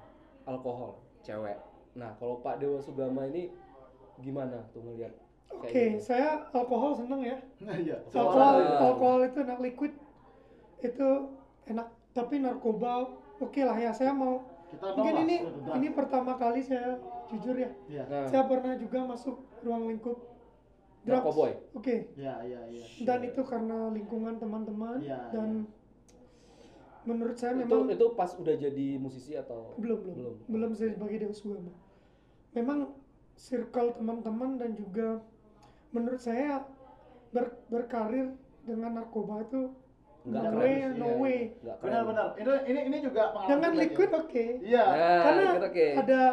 Speaker 2: alkohol, cewek. Nah kalau Pak Dewa Sugama ini gimana tuh ngelihat?
Speaker 1: Oke,
Speaker 2: gitu.
Speaker 1: saya alkohol seneng ya.
Speaker 4: Iya.
Speaker 1: Alkohol,
Speaker 2: Soalnya-
Speaker 1: alkohol itu enak liquid. Itu enak, tapi narkoba oke lah ya. Saya mau
Speaker 4: Kita
Speaker 1: mungkin
Speaker 4: nolak
Speaker 1: ini
Speaker 4: untuk drugs.
Speaker 1: ini pertama kali saya jujur ya.
Speaker 4: Iya.
Speaker 2: Nah,
Speaker 1: Saya pernah juga masuk ruang lingkup drugs.
Speaker 2: Narkoboy.
Speaker 1: Oke.
Speaker 4: Iya, iya, iya.
Speaker 1: Dan itu karena lingkungan teman-teman
Speaker 4: Iya,
Speaker 1: dan menurut saya
Speaker 2: itu
Speaker 1: Kan memang
Speaker 2: itu pas udah jadi musisi atau
Speaker 1: belum belum
Speaker 2: Belum.
Speaker 1: belum, sebagai dewa sugama memang circle teman-teman dan juga menurut saya ber- berkarir dengan narkoba itu
Speaker 2: Nggak
Speaker 1: no
Speaker 2: keren
Speaker 1: way
Speaker 4: sih,
Speaker 1: no
Speaker 4: iya.
Speaker 1: way
Speaker 2: nggak keren?
Speaker 4: Benar-benar. Ini ini ini juga pengalaman
Speaker 1: dengan
Speaker 4: pribadi.
Speaker 1: liquid oke
Speaker 4: Iya.
Speaker 2: Nah,
Speaker 1: karena
Speaker 2: dikit, oke.
Speaker 1: ada eh,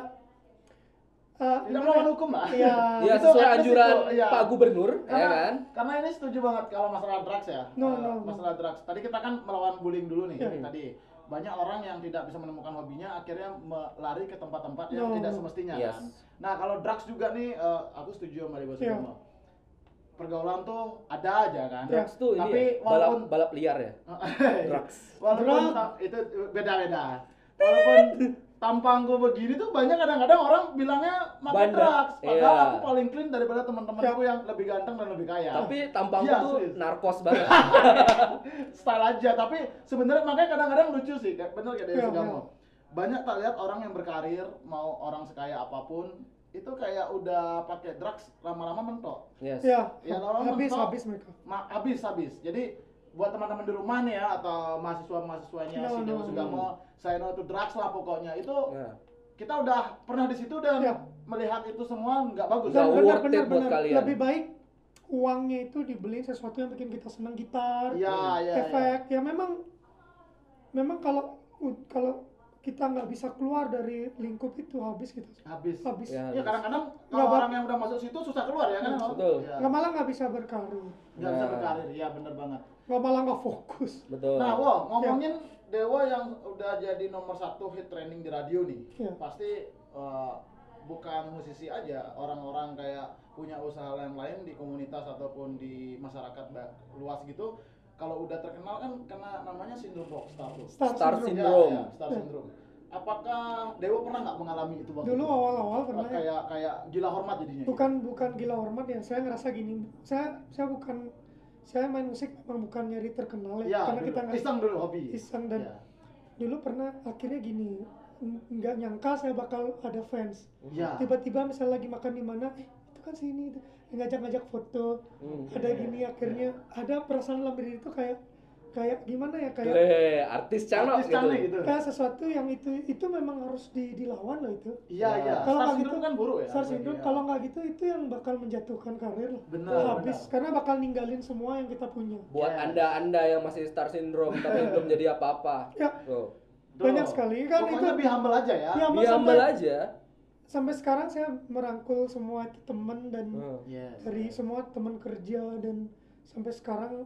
Speaker 4: Tidak
Speaker 1: gimana
Speaker 4: melawan hukum lah.
Speaker 1: ya
Speaker 2: Ya
Speaker 4: Itu
Speaker 2: sesuai
Speaker 4: etnis
Speaker 2: anjuran
Speaker 4: itu, iya.
Speaker 2: Pak Gubernur, ya
Speaker 4: Karena,
Speaker 2: kan?
Speaker 4: karena ini setuju banget kalau masalah drugs ya.
Speaker 1: No,
Speaker 4: Eh,
Speaker 1: no, no.
Speaker 4: Masalah drugs. Tadi kita kan melawan bullying dulu nih
Speaker 1: Iya.
Speaker 4: tadi. Banyak orang yang tidak bisa menemukan hobinya akhirnya melari ke tempat-tempat
Speaker 1: No,
Speaker 4: yang tidak
Speaker 1: no.
Speaker 4: semestinya
Speaker 2: Yes.
Speaker 4: kan. Nah, kalau drugs juga nih eh, aku setuju sama Dewa
Speaker 1: Iya.
Speaker 4: Sugama. Pergaulan tuh ada aja kan.
Speaker 2: Drugs tuh ini
Speaker 4: Tapi
Speaker 2: ya, balap
Speaker 4: (laughs) walaupun iya.
Speaker 2: balap liar ya. Drugs.
Speaker 4: Walaupun
Speaker 1: Drag.
Speaker 4: ta- itu beda-beda. Walaupun tampangku begini tuh banyak kadang-kadang orang bilangnya makan
Speaker 2: Bandar.
Speaker 4: drugs. Padahal
Speaker 2: Iya.
Speaker 4: aku paling clean daripada teman-temanku yang lebih ganteng dan lebih kaya.
Speaker 2: Tapi tampangku
Speaker 4: Iya,
Speaker 2: tuh
Speaker 4: serius.
Speaker 2: narkos banget.
Speaker 4: style aja. Tapi sebenarnya makanya kadang-kadang lucu sih. Kayak bener kayak dari
Speaker 1: Iya,
Speaker 4: Sugamo.
Speaker 1: iya.
Speaker 4: Banyak tak lihat orang yang berkarir mau orang sekaya apapun itu kayak udah pakai drugs lama-lama mentok.
Speaker 2: yes.
Speaker 1: ya
Speaker 4: Ya, lawan
Speaker 1: habis
Speaker 4: mentok.
Speaker 1: habis mereka
Speaker 4: Ma- habis habis jadi buat teman-teman di rumah nih ya atau mahasiswa mahasiswanya
Speaker 1: No,
Speaker 4: si Dewa
Speaker 1: no.
Speaker 4: Sugamo saya no to drugs lah pokoknya itu
Speaker 2: Nah,
Speaker 4: kita udah pernah di situ dan
Speaker 1: Iya.
Speaker 4: melihat itu semua nggak bagus
Speaker 1: dan
Speaker 2: Nggak
Speaker 4: Iya,
Speaker 2: worth it
Speaker 1: benar-benar
Speaker 2: buat
Speaker 1: benar
Speaker 2: kalian.
Speaker 1: lebih baik uangnya itu dibeli sesuatu yang bikin kita senang gitar
Speaker 4: Iya, iya, iya.
Speaker 1: efek ya memang memang kalau kalau kita nggak bisa keluar dari lingkup itu habis kita
Speaker 4: Habis.
Speaker 1: habis
Speaker 2: Ya, habis.
Speaker 4: Ya kadang-kadang
Speaker 1: Nggak
Speaker 4: kalau
Speaker 1: bak-
Speaker 4: orang yang udah masuk situ susah keluar ya
Speaker 1: Iya.
Speaker 4: kan.
Speaker 2: Betul.
Speaker 4: Ya.
Speaker 1: nggak malah nggak bisa berkarir
Speaker 4: Nggak bisa
Speaker 2: Nah.
Speaker 4: berkarir, ya bener banget.
Speaker 1: nggak malah nggak fokus
Speaker 2: betul
Speaker 4: Nah, wow, ngomongin Dewa yang udah jadi nomor satu hit training di radio nih,
Speaker 1: Iya.
Speaker 4: pasti eh, bukan musisi aja, orang-orang kayak punya usaha lain-lain di komunitas ataupun di masyarakat ba- luas gitu, kalau udah terkenal kan kena namanya sindrom rockstar tuh.
Speaker 1: Star
Speaker 2: Star
Speaker 1: syndrome.
Speaker 2: syndrome.
Speaker 4: Ya, ya, star
Speaker 1: Iya.
Speaker 4: syndrome. Apakah Dewa pernah nggak mengalami itu waktu
Speaker 1: dulu
Speaker 4: itu?
Speaker 1: awal-awal pernah ya.
Speaker 4: kayak kayak gila hormat jadinya. gitu.
Speaker 1: bukan bukan gila hormat ya saya ngerasa gini saya saya bukan saya main musik memang bukan nyari terkenal ya,
Speaker 4: Iya,
Speaker 1: karena
Speaker 4: dulu.
Speaker 1: kita nggak
Speaker 4: iseng dulu hobi.
Speaker 1: iseng dan
Speaker 4: Iya.
Speaker 1: dulu pernah akhirnya gini n- nggak nyangka saya bakal ada fans
Speaker 4: Iya.
Speaker 1: tiba-tiba misalnya lagi makan di mana eh itu kan sini itu ngajak-ngajak foto
Speaker 2: Hmm.
Speaker 4: Iya,
Speaker 1: ada gini akhirnya ada perasaan dalam diri itu kayak kayak gimana ya kayak
Speaker 2: Gile, artis channel
Speaker 4: Artis cantik
Speaker 2: gitu
Speaker 4: gitu.
Speaker 1: kayak sesuatu yang itu itu memang harus di- dilawan loh itu
Speaker 4: Iya, iya.
Speaker 1: Kalau
Speaker 4: Star
Speaker 1: nggak
Speaker 4: syndrome
Speaker 1: gitu-
Speaker 4: kan buruk ya.
Speaker 1: Star
Speaker 4: bagi-
Speaker 1: syndrome
Speaker 4: iya.
Speaker 1: kalau nggak gitu itu yang bakal menjatuhkan karir lah.
Speaker 4: Benar,
Speaker 1: Itu
Speaker 4: benar.
Speaker 1: Oh, habis karena bakal ninggalin semua yang kita punya.
Speaker 2: buat
Speaker 4: Ya.
Speaker 2: anda anda yang masih star syndrome tapi belum jadi apa-apa
Speaker 1: Ya.
Speaker 2: tuh
Speaker 1: Banyak sekali, kan
Speaker 4: Pokoknya
Speaker 1: itu-
Speaker 4: lebih humble aja ya.
Speaker 1: Ya, Mas,
Speaker 2: Be humble
Speaker 1: sampai-
Speaker 2: aja
Speaker 1: Sampai sekarang saya merangkul semua itu teman dan
Speaker 2: Hmm.
Speaker 4: Yes.
Speaker 1: dari semua teman kerja dan sampai sekarang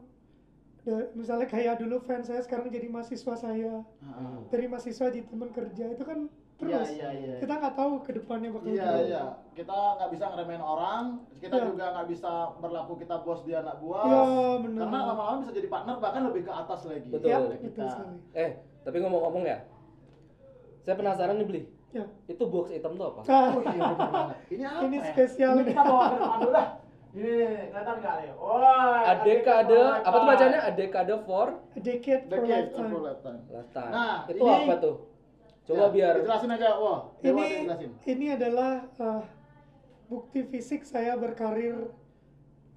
Speaker 1: da- misalnya kayak dulu fans saya sekarang jadi mahasiswa saya
Speaker 4: Heeh.
Speaker 1: dari mahasiswa jadi teman kerja itu kan terus
Speaker 4: Iya, iya, iya.
Speaker 1: kita nggak tahu ke depannya bakal
Speaker 4: Iya,
Speaker 1: gimana.
Speaker 4: iya. Kita nggak bisa ngeremehin orang, kita
Speaker 1: Iya.
Speaker 4: juga nggak bisa berlaku kita bos dia anak buah.
Speaker 1: Iya, benar.
Speaker 4: Karena lama-lama bisa jadi partner bahkan lebih ke atas lagi.
Speaker 2: Betul.
Speaker 1: Ya,
Speaker 4: Daripada
Speaker 1: betul
Speaker 4: kita.
Speaker 1: sekali.
Speaker 2: eh tapi ngomong-ngomong ya saya penasaran nih beli
Speaker 1: Ya. (laughs)
Speaker 2: itu box item tuh apa
Speaker 1: Ah,
Speaker 4: Oh iya, bener banget. Ini apa?
Speaker 1: ini
Speaker 4: ya?
Speaker 1: spesial
Speaker 4: Ini
Speaker 1: nih.
Speaker 4: kita bawa ke depan dulu lah. Ini kelihatan nggak nih? Wah.
Speaker 2: adekade apa tuh bacanya adekade for
Speaker 1: A Decade
Speaker 4: The
Speaker 1: for
Speaker 4: Cave of
Speaker 1: Lifetime.
Speaker 4: Lifetime.
Speaker 2: Lata.
Speaker 4: Nah,
Speaker 2: itu
Speaker 4: ini-
Speaker 2: apa tuh? Coba
Speaker 4: Ya,
Speaker 2: biar
Speaker 4: Jelasin aja, wah. Dewa ada yang
Speaker 1: ini
Speaker 4: jelasin.
Speaker 1: ini adalah eh, bukti fisik saya berkarir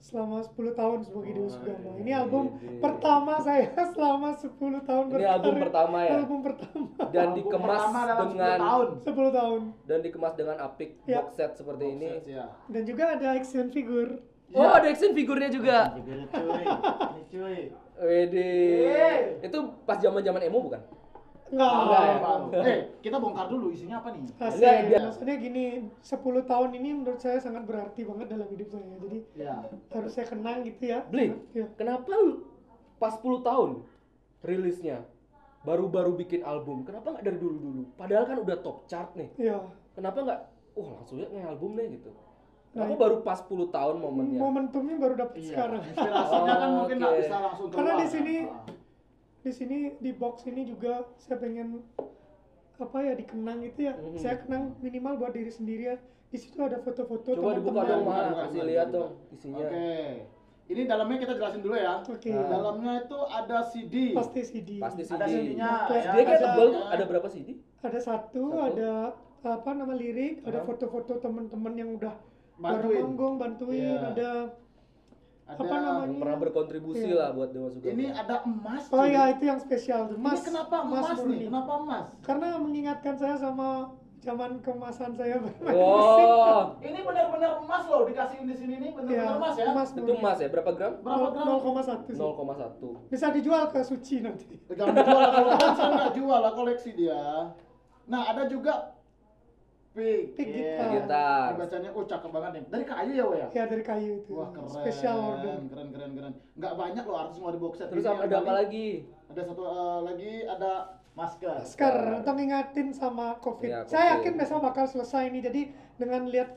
Speaker 1: selama 10 tahun sebagai
Speaker 2: Oh,
Speaker 1: Dewa
Speaker 2: iya,
Speaker 1: Sugama. Ini album
Speaker 2: ini.
Speaker 1: pertama saya (laughs) selama 10 tahun
Speaker 2: ini album pertama ya
Speaker 1: Album pertama (laughs)
Speaker 2: dan
Speaker 4: Album
Speaker 2: dikemas
Speaker 4: pertama dalam 10
Speaker 2: dengan
Speaker 4: tahun.
Speaker 1: 10 tahun.
Speaker 2: dan dikemas dengan apik
Speaker 1: Ya.
Speaker 2: box set seperti ini.
Speaker 4: Box set, ya.
Speaker 1: Dan juga ada action figure.
Speaker 2: Oh, ada action figurnya juga.
Speaker 4: Ini cuy, ini cuy.
Speaker 2: Wede.
Speaker 4: Eh.
Speaker 2: Itu pas zaman-zaman emo bukan?
Speaker 1: Enggak.
Speaker 2: Enggak ya?
Speaker 4: Eh, kita bongkar dulu isinya apa nih?
Speaker 1: Asik.
Speaker 2: Enggak, dia-
Speaker 1: Maksudnya gini, 10 tahun ini menurut saya sangat berarti banget dalam hidup saya. Jadi
Speaker 4: Ya.
Speaker 1: harus saya kenang gitu ya.
Speaker 2: Beli.
Speaker 1: Ya.
Speaker 2: Kenapa lu pas 10 tahun rilisnya baru-baru bikin album? Kenapa nggak dari dulu-dulu? Padahal kan udah top chart nih.
Speaker 1: Ya.
Speaker 2: Kenapa nggak wah langsung aja nge album deh gitu.
Speaker 1: Nah,
Speaker 2: Aku baru pas 10 tahun momennya. Iya.
Speaker 1: Momentumnya baru dapat sekarang.
Speaker 4: iya. Inspirasinya kan
Speaker 2: Oh,
Speaker 4: mungkin nggak
Speaker 2: oke.
Speaker 4: bisa langsung keluar.
Speaker 1: Karena di
Speaker 4: kan?
Speaker 1: sini
Speaker 4: Ah.
Speaker 1: di sini di box ini juga saya pengen apa ya dikenang gitu ya.
Speaker 2: Mhm.
Speaker 1: Saya kenang minimal buat diri sendiri ya. Di situ ada foto-foto
Speaker 2: Coba
Speaker 1: teman-teman.
Speaker 2: dibuka dong,
Speaker 4: Bukan,
Speaker 2: Mas.
Speaker 4: bukan,
Speaker 2: Kasih
Speaker 4: bukan,
Speaker 2: lihat
Speaker 4: bukan.
Speaker 2: dong isinya.
Speaker 4: Oke. Ini dalamnya kita jelasin dulu ya.
Speaker 1: Oke.
Speaker 2: Nah.
Speaker 4: Dalamnya itu ada CD.
Speaker 1: Iya. Pasti CD.
Speaker 2: Pasti CD.
Speaker 4: Ada CD-nya.
Speaker 1: Oke.
Speaker 2: Dia
Speaker 4: ya,
Speaker 2: kayak
Speaker 4: ada-
Speaker 2: tebel tuh, ada berapa CD?
Speaker 1: Ada satu,
Speaker 2: Satu.
Speaker 1: ada apa nama lirik, ada
Speaker 2: Aha.
Speaker 1: foto-foto teman-teman yang udah baru
Speaker 4: Bantuin.
Speaker 1: manggung bantuin,
Speaker 4: Iya.
Speaker 1: ada
Speaker 4: Ada-
Speaker 1: apa namanya?
Speaker 2: Yang pernah berkontribusi
Speaker 1: Iya.
Speaker 2: lah buat Dewa Sugama.
Speaker 4: Ini ada emas.
Speaker 1: Oh
Speaker 4: cuy.
Speaker 1: ya itu yang spesial tuh.
Speaker 4: Ini
Speaker 1: Mas.
Speaker 4: kenapa emas, nih?
Speaker 1: murni.
Speaker 4: Kenapa emas?
Speaker 1: Karena mengingatkan saya sama zaman kemasan saya bermain (laughs) musik.
Speaker 2: Wow,
Speaker 4: Ini benar-benar emas loh dikasihin di sini nih benar-benar emas ya.
Speaker 1: Iya. emas
Speaker 2: itu
Speaker 1: murni.
Speaker 2: emas ya berapa gram?
Speaker 4: Berapa gram?
Speaker 1: 0,1 sih.
Speaker 4: Iya.
Speaker 2: 0,1.
Speaker 1: Bisa dijual ke Suci nanti. (laughs)
Speaker 4: Jangan dijual lah kalau koleksi nggak jual lah koleksi dia. Nah ada juga pig.
Speaker 1: Pig
Speaker 4: Iya.
Speaker 1: gitar.
Speaker 2: Gitar.
Speaker 4: Ini Bacanya oh cakep banget nih. Dari kayu ya Wak, ya.
Speaker 1: Ya dari kayu itu.
Speaker 4: Wah keren.
Speaker 1: Special order.
Speaker 4: Keren keren keren. Nggak banyak loh artis mau di box set.
Speaker 2: Terus
Speaker 4: Ini
Speaker 2: apa-
Speaker 4: yang
Speaker 2: ada apa
Speaker 4: paling-
Speaker 2: lagi?
Speaker 4: Ada satu eh, lagi ada masker.
Speaker 1: Masker untuk ngingatin sama COVID.
Speaker 2: Ya,
Speaker 1: Saya
Speaker 2: COVID.
Speaker 1: yakin besok bakal selesai ini. Jadi dengan lihat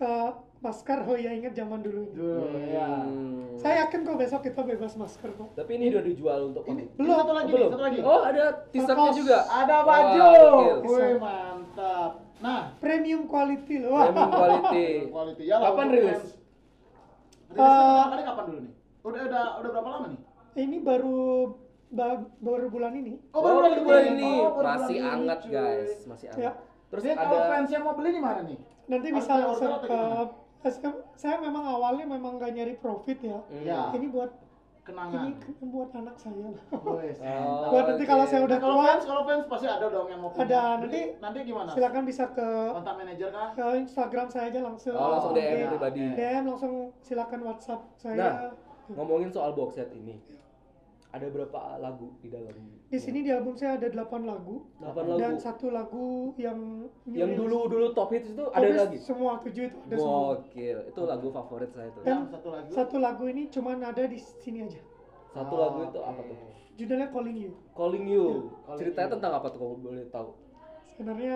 Speaker 1: eh, masker, oh ya ingat zaman dulu ini.
Speaker 4: Duh, ya.
Speaker 2: Hmm.
Speaker 1: Saya yakin kok besok kita bebas masker kok.
Speaker 2: Tapi ini udah dijual untuk
Speaker 4: Ini
Speaker 2: komik.
Speaker 4: belum satu lagi,
Speaker 2: Belum.
Speaker 4: nih, satu lagi.
Speaker 2: Oh, ada t-shirtnya
Speaker 1: Kaos.
Speaker 2: juga.
Speaker 4: Ada
Speaker 2: Wah,
Speaker 4: baju.
Speaker 2: gokil.
Speaker 4: Wih mantap. Nah,
Speaker 1: Premium quality loh.
Speaker 2: Premium quality.
Speaker 4: quality ya.
Speaker 2: Kapan
Speaker 4: untuk
Speaker 2: rilis?
Speaker 1: Eh.
Speaker 4: fans. Rilisnya pertama kali kapan dulu nih? Udah udah udah berapa lama nih?
Speaker 1: (laughs) ini baru ba- baru bulan ini.
Speaker 2: Oh,
Speaker 4: baru
Speaker 2: baru bulan ini.
Speaker 4: Oh, baru bulan
Speaker 2: Masih
Speaker 4: ini,
Speaker 2: anget,
Speaker 4: cuy.
Speaker 2: guys. Masih
Speaker 1: Ya.
Speaker 2: anget. Terus
Speaker 4: Jadi kalau
Speaker 2: ada
Speaker 4: fans yang mau beli di mana nih?
Speaker 1: Nanti
Speaker 4: Harus
Speaker 1: bisa
Speaker 4: pre-order
Speaker 1: langsung
Speaker 4: atau
Speaker 1: ke eh,
Speaker 4: gimana?
Speaker 1: saya, saya memang awalnya memang nggak nyari profit ya.
Speaker 2: Hmm.
Speaker 4: Ya.
Speaker 1: Ini buat ini
Speaker 4: kenangan. (laughs) iya
Speaker 1: ke- buat anak saya lah.
Speaker 4: Wes.
Speaker 2: Oh,
Speaker 1: buat nanti kalau
Speaker 2: oke.
Speaker 1: saya udah
Speaker 4: Nah, kalau
Speaker 1: keluar
Speaker 4: fans, kalau fans pasti ada dong yang mau punya.
Speaker 1: Ada,
Speaker 4: Jadi,
Speaker 1: nanti
Speaker 4: nanti gimana?
Speaker 1: silakan bisa ke,
Speaker 4: Kontak manajer kah?
Speaker 1: ke Instagram saya aja langsung.
Speaker 2: Oh, langsung DM
Speaker 4: Iya.
Speaker 1: Nanti
Speaker 2: pribadi.
Speaker 1: DM langsung silakan WhatsApp saya.
Speaker 2: Nah. Ngomongin soal box set ini. Ada berapa lagu di dalam?
Speaker 1: Di sini di album saya ada 8 lagu,
Speaker 2: 8 lagu.
Speaker 1: dan satu lagu yang
Speaker 2: yang
Speaker 1: nyuruhin-
Speaker 2: dulu-dulu top hits itu ada
Speaker 1: Pokoknya
Speaker 2: lagi.
Speaker 1: Semua tujuh itu ada semua.
Speaker 2: Gokil. Itu lagu favorit saya tuh.
Speaker 1: Dan-
Speaker 4: Yang satu lagu.
Speaker 1: Satu lagu ini cuman ada di sini aja.
Speaker 2: Satu
Speaker 4: Oh,
Speaker 2: lagu itu
Speaker 4: oke. Ya,
Speaker 2: apa tuh?
Speaker 1: Judulnya Calling You.
Speaker 2: Calling You.
Speaker 4: Calling
Speaker 2: Ceritanya
Speaker 4: You.
Speaker 2: tentang apa tuh kalau boleh
Speaker 4: (laughs)
Speaker 2: tahu?
Speaker 1: Sebenarnya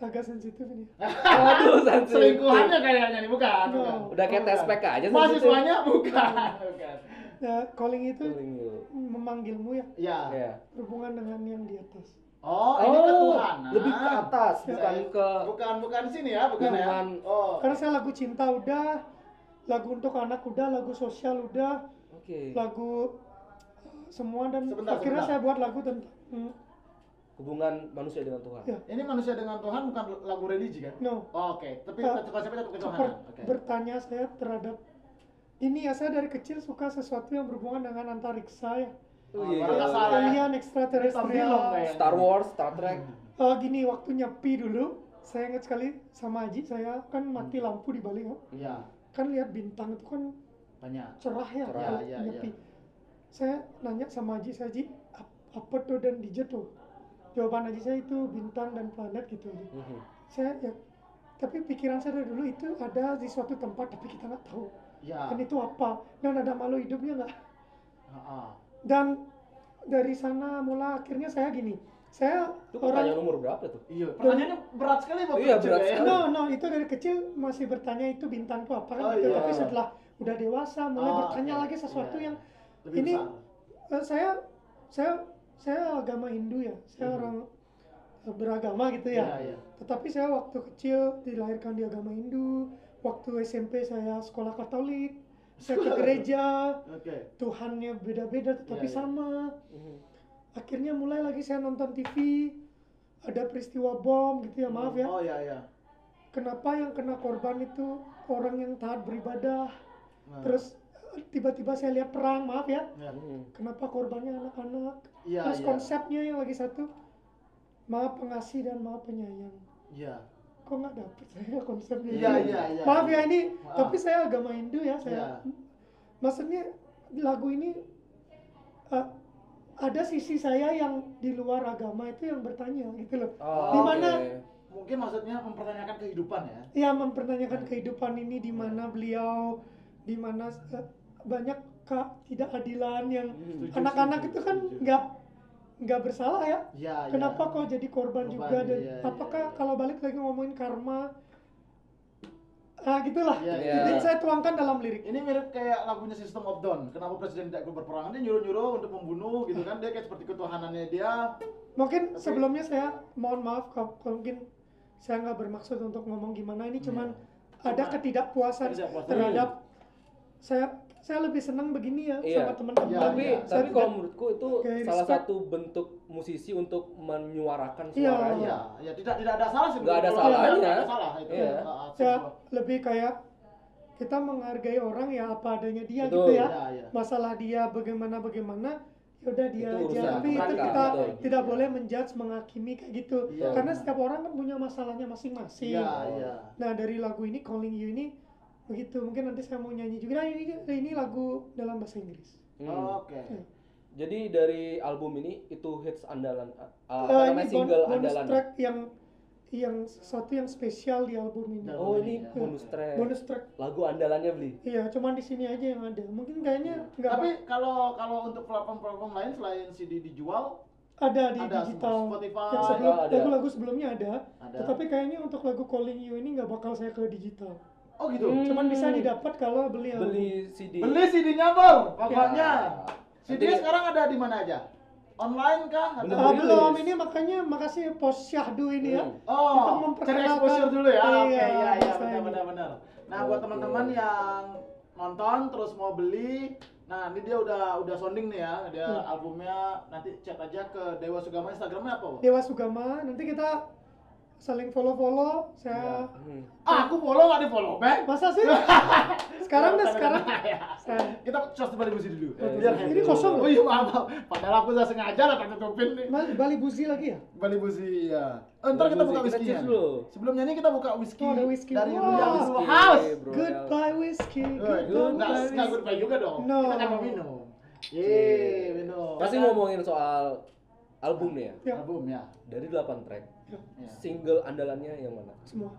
Speaker 1: agak sensitif ini.
Speaker 2: Waduh, sensitif.
Speaker 4: (laughs) Selingkuhannya kayaknya nih, bukan?
Speaker 1: No.
Speaker 4: bukan.
Speaker 2: Udah kayak tes PK aja Gitu. Iya. sensitif.
Speaker 4: Mahasiswanya bukan, bukan.
Speaker 1: Nah, calling itu
Speaker 2: Calling You.
Speaker 1: memanggilmu ya
Speaker 4: Ya.
Speaker 2: Ya.
Speaker 1: berhubungan dengan yang di atas.
Speaker 4: Oh, ini ke Tuhan.
Speaker 2: lebih ke atas,
Speaker 4: Bisa
Speaker 2: bukan
Speaker 4: ya.
Speaker 2: ke
Speaker 4: bukan bukan sini ya, bukan ya.
Speaker 2: Bukan.
Speaker 4: Oh.
Speaker 1: Karena saya lagu cinta udah, lagu untuk anak udah, lagu sosial udah,
Speaker 2: Oke.
Speaker 1: lagu semua dan
Speaker 4: Sebentar,
Speaker 1: akhirnya
Speaker 4: sebentar.
Speaker 1: saya buat lagu tentang hmm,
Speaker 2: Hubungan manusia dengan Tuhan.
Speaker 1: Ya.
Speaker 4: Ini manusia dengan Tuhan bukan lagu religi kan?
Speaker 1: no
Speaker 4: Oh, Oke, tapi
Speaker 1: Eh,
Speaker 4: konsepnya tetap ketuhanan.
Speaker 1: per-
Speaker 4: Oke.
Speaker 1: bertanya saya terhadap ini ya saya dari kecil suka sesuatu yang berhubungan dengan antariksa ya
Speaker 4: Oh,
Speaker 2: Iya.
Speaker 4: barang kasar. Salah. ya.
Speaker 1: alien
Speaker 4: Ini
Speaker 1: ekstraterestrial
Speaker 4: Babylon, kayaknya.
Speaker 2: Star Wars, Star
Speaker 4: Iya,
Speaker 2: Trek.
Speaker 1: Eh, gini waktu nyepi dulu saya ingat sekali sama Aji saya kan mati
Speaker 4: Hmm.
Speaker 1: lampu di Bali kan.
Speaker 4: Iya,
Speaker 1: kan lihat bintang itu kan
Speaker 4: banyak.
Speaker 1: cerah ya
Speaker 2: Cerah.
Speaker 1: kalau
Speaker 4: Iya, iya,
Speaker 1: nyepi
Speaker 4: iya.
Speaker 1: saya nanya sama Aji saya Aji "Ap- apa tuh dan dijat tuh jawaban Aji saya itu bintang dan planet gitu Aji.
Speaker 2: Mhm.
Speaker 1: saya ya tapi pikiran saya dari dulu itu ada di suatu tempat tapi kita nggak tahu
Speaker 4: Iya.
Speaker 1: kan itu apa dan ada malu hidupnya nggak
Speaker 4: Heeh.
Speaker 1: dan dari sana mula akhirnya saya gini saya
Speaker 2: Itu pertanyaan
Speaker 1: orang
Speaker 2: umur berapa tuh?
Speaker 4: Iya, pertanyaannya berat sekali Bapak
Speaker 2: Iya,
Speaker 4: Ijo,
Speaker 2: berat
Speaker 4: ya.
Speaker 2: sekali.
Speaker 1: no no itu dari kecil masih bertanya itu bintang itu apa kan
Speaker 4: Oh,
Speaker 1: gitu
Speaker 4: iya.
Speaker 1: tapi setelah udah dewasa mulai
Speaker 4: Oh,
Speaker 1: bertanya
Speaker 4: oke.
Speaker 1: lagi sesuatu
Speaker 4: Iya.
Speaker 1: yang
Speaker 4: Lebih
Speaker 1: ini-
Speaker 4: besar.
Speaker 1: eh, saya saya saya agama Hindu ya saya
Speaker 2: Mhm.
Speaker 1: orang eh, beragama gitu ya
Speaker 4: Hmm. Iya, iya.
Speaker 1: tetapi saya waktu kecil dilahirkan di agama Hindu waktu SMP saya sekolah Katolik saya ke gereja
Speaker 4: (laughs) Oke.
Speaker 1: Tuhannya beda-beda tetapi
Speaker 4: Iya, iya.
Speaker 1: sama akhirnya mulai lagi saya nonton TV ada peristiwa bom gitu ya maaf ya
Speaker 4: Oh iya iya.
Speaker 1: kenapa yang kena korban itu orang yang taat beribadah
Speaker 4: Nah,
Speaker 1: terus eh, tiba-tiba saya lihat perang maaf ya
Speaker 4: ya.
Speaker 2: Mhm.
Speaker 1: kenapa korbannya anak-anak
Speaker 4: Iya
Speaker 1: terus
Speaker 4: iya.
Speaker 1: konsepnya yang lagi satu maha pengasih dan maha penyayang
Speaker 4: Iya.
Speaker 1: kok nggak dapet saya konsepnya
Speaker 4: Iya iya iya.
Speaker 1: maaf ya ini
Speaker 4: Maaf.
Speaker 1: tapi saya agama Hindu ya saya maksudnya lagu ini eh, ada sisi saya yang di luar agama itu yang bertanya gitu loh
Speaker 2: Oh,
Speaker 1: Di mana?
Speaker 2: oke.
Speaker 4: Mungkin maksudnya mempertanyakan kehidupan ya.
Speaker 1: ya mempertanyakan kehidupan ini di mana beliau di mana eh, banyak ketidakadilan yang
Speaker 2: Mhm.
Speaker 4: Setuju,
Speaker 1: anak-anak
Speaker 4: setuju,
Speaker 1: itu kan
Speaker 4: setuju.
Speaker 1: nggak nggak bersalah ya
Speaker 4: Iya iya.
Speaker 1: kenapa kok jadi korban
Speaker 4: Korban,
Speaker 1: juga dan
Speaker 4: iya, iya,
Speaker 1: apakah
Speaker 4: iya.
Speaker 1: kalau balik lagi ngomongin karma ah gitulah
Speaker 4: Iya,
Speaker 2: Iya.
Speaker 1: jadi saya tuangkan dalam lirik
Speaker 4: Ini mirip kayak lagunya System of Down. Kenapa presiden tidak ikut berperang? Dia nyuruh-nyuruh untuk membunuh gitu kan. Dia kayak seperti ketuhanannya dia.
Speaker 1: mungkin
Speaker 4: Tapi-
Speaker 1: sebelumnya saya mohon maaf kalau kalau mungkin saya nggak bermaksud untuk ngomong gimana
Speaker 2: Iya.
Speaker 1: ini cuman
Speaker 4: Iya.
Speaker 1: ada
Speaker 4: Cuma
Speaker 1: ketidakpuasan
Speaker 4: ketidakpuasan.
Speaker 1: terhadap saya saya lebih senang begini ya
Speaker 2: Iya.
Speaker 1: sama teman-teman
Speaker 4: Iya,
Speaker 2: tapi
Speaker 4: iya.
Speaker 1: Saya
Speaker 2: tapi kalau
Speaker 1: tidak-
Speaker 2: menurutku itu
Speaker 1: Kayak
Speaker 2: salah
Speaker 1: respect.
Speaker 2: satu bentuk musisi untuk menyuarakan
Speaker 1: Iya.
Speaker 2: suaranya.
Speaker 4: Iya, ya tidak tidak ada salah sih.
Speaker 2: Nggak ada
Speaker 4: Kalau
Speaker 2: salahnya.
Speaker 4: nggak ada salah itu.
Speaker 2: Iya.
Speaker 4: Ah,
Speaker 1: ya
Speaker 4: sebuah-
Speaker 1: lebih kayak kita menghargai orang ya apa adanya dia
Speaker 2: Betul,
Speaker 1: gitu
Speaker 4: Iya,
Speaker 1: ya
Speaker 4: iya.
Speaker 1: masalah dia bagaimana bagaimana ya udah dia
Speaker 2: Itu
Speaker 1: aja
Speaker 2: urusan
Speaker 1: tapi itu
Speaker 2: mereka,
Speaker 1: kita
Speaker 2: betul.
Speaker 1: tidak boleh menjudge menghakimi kayak gitu
Speaker 4: Iya.
Speaker 1: karena setiap orang kan punya masalahnya masing-masing
Speaker 4: Iya, iya.
Speaker 1: nah dari lagu ini calling you ini begitu mungkin nanti saya mau nyanyi juga nah, ini ini lagu dalam bahasa Inggris
Speaker 2: Hmm.
Speaker 1: Oh.
Speaker 4: Oke.
Speaker 2: Jadi dari album ini itu hits andalan uh, apa
Speaker 1: Eh,
Speaker 2: namanya
Speaker 1: bon-
Speaker 2: single
Speaker 1: bonus
Speaker 2: andalan.
Speaker 1: track yang yang satu yang spesial di album ini
Speaker 4: Dan-
Speaker 2: Oh ini
Speaker 4: Iya.
Speaker 2: bonus track.
Speaker 1: bonus track
Speaker 2: Lagu andalannya beli.
Speaker 1: Iya, cuman di sini aja yang ada. Mungkin kayaknya Iya. nggak
Speaker 4: Iya. Tapi kalau kalau untuk platform-platform lain selain CD dijual
Speaker 1: ada di
Speaker 4: ada
Speaker 1: digital.
Speaker 4: semua. Spotify,
Speaker 1: Yang sebelum
Speaker 2: ada.
Speaker 1: lagu-lagu sebelumnya ada,
Speaker 4: ada.
Speaker 1: tetapi kayaknya untuk lagu Calling You ini nggak bakal saya ke digital.
Speaker 4: oh gitu.
Speaker 2: Hmm.
Speaker 1: Cuman bisa didapat kalau beli album.
Speaker 2: Beli Iya. CD.
Speaker 4: Beli CD-nya, Bang. Pokoknya.
Speaker 2: Nanti-
Speaker 4: CD sekarang ada di mana aja? Online kah? Atau-
Speaker 1: Ah,
Speaker 2: Belum
Speaker 1: belum
Speaker 2: rilis.
Speaker 1: ini makanya makasih Pos Syahdu ini ya.
Speaker 2: Hmm.
Speaker 1: Kita
Speaker 4: Oh, cari
Speaker 1: memperkenalkan-
Speaker 4: exposure dulu ya.
Speaker 1: Iya,
Speaker 4: Oke, iya, iya,
Speaker 1: makanya.
Speaker 4: benar, benar, benar. Nah, buat
Speaker 2: Oke.
Speaker 4: teman-teman yang nonton terus mau beli, nah ini dia udah udah sounding nih ya, dia
Speaker 1: Hmm. Ya.
Speaker 4: albumnya nanti chat aja ke Dewa Sugama Instagramnya apa, Bang?
Speaker 1: Dewa Sugama. Nanti kita saling follow-follow saya
Speaker 2: Hmm.
Speaker 4: Ah, aku follow nggak di follow back.
Speaker 1: masa sih
Speaker 4: (laughs) Iya,
Speaker 1: sekarang deh sekarang Sekarang.
Speaker 4: Kita cas tempat diskusi dulu.
Speaker 2: Eh,
Speaker 4: Biar
Speaker 1: ini kosong
Speaker 4: Oh
Speaker 1: loh
Speaker 4: iya maaf, maaf. Padahal aku udah sengaja lah tak tutupin nih.
Speaker 1: Mas, Bali Buzi lagi ya
Speaker 4: Bali Buzi ya. Eh, ntar
Speaker 2: Bali
Speaker 4: kita
Speaker 2: Buzi,
Speaker 4: buka
Speaker 2: kita
Speaker 4: whisky.
Speaker 2: cheers dulu.
Speaker 4: Sebelum nyanyi kita buka whisky.
Speaker 1: Oh, ada whisky.
Speaker 4: Dari
Speaker 1: Wah.
Speaker 4: Royal Blue
Speaker 2: Whisky,
Speaker 4: House.
Speaker 2: bro.
Speaker 1: goodbye whiskey
Speaker 4: Eh,
Speaker 2: Good
Speaker 1: goodbye
Speaker 4: Enggak,
Speaker 2: vibes.
Speaker 4: enggak good vibe juga dong.
Speaker 1: No.
Speaker 4: Kita kan mau minum.
Speaker 1: Iya,
Speaker 4: Yeay, minum.
Speaker 2: Pasti ngomongin soal albumnya
Speaker 1: Ya.
Speaker 4: Album ya.
Speaker 2: dari 8 track,
Speaker 4: Ya.
Speaker 2: single andalannya yang mana?
Speaker 1: semua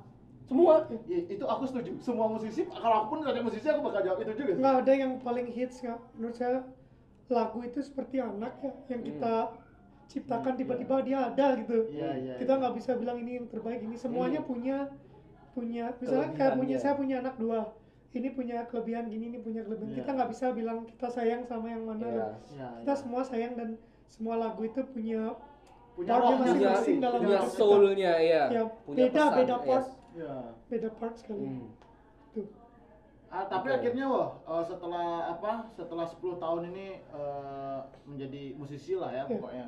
Speaker 2: Semua.
Speaker 4: Ya, itu aku setuju. Semua musisi, kalau aku pun tanya musisi aku bakal jawab itu juga.
Speaker 1: nggak ada yang paling hits nggak menurut saya lagu itu seperti anak ya yang kita ciptakan
Speaker 4: Hmm,
Speaker 1: tiba-tiba dia ada gitu
Speaker 4: Iya, iya.
Speaker 1: kita
Speaker 4: iya.
Speaker 1: nggak bisa bilang ini yang terbaik ini semuanya
Speaker 2: Hmm.
Speaker 1: punya punya misalnya kayak
Speaker 2: Kelebihan
Speaker 1: punya
Speaker 2: dia.
Speaker 1: saya punya anak dua ini punya kelebihan gini ini punya kelebihan
Speaker 4: Iya.
Speaker 1: kita nggak bisa bilang kita sayang sama yang mana
Speaker 2: Iya.
Speaker 4: Iya,
Speaker 1: kita
Speaker 4: iya.
Speaker 1: semua sayang dan semua lagu itu punya
Speaker 4: punya
Speaker 1: Tapi
Speaker 4: rohnya
Speaker 2: Punya,
Speaker 1: masing-masing
Speaker 4: sendiri.
Speaker 1: dalam
Speaker 2: punya
Speaker 1: hidup kita.
Speaker 2: soulnya ya.
Speaker 1: ya
Speaker 2: punya
Speaker 1: beda
Speaker 2: pesan,
Speaker 1: beda part
Speaker 2: yes.
Speaker 4: Iya.
Speaker 1: beda part sekali
Speaker 2: Hmm.
Speaker 4: Ah, tapi
Speaker 2: Oke.
Speaker 4: akhirnya wah eh, setelah apa? Setelah 10 tahun ini eh, menjadi musisi lah ya
Speaker 1: Iya.
Speaker 4: pokoknya.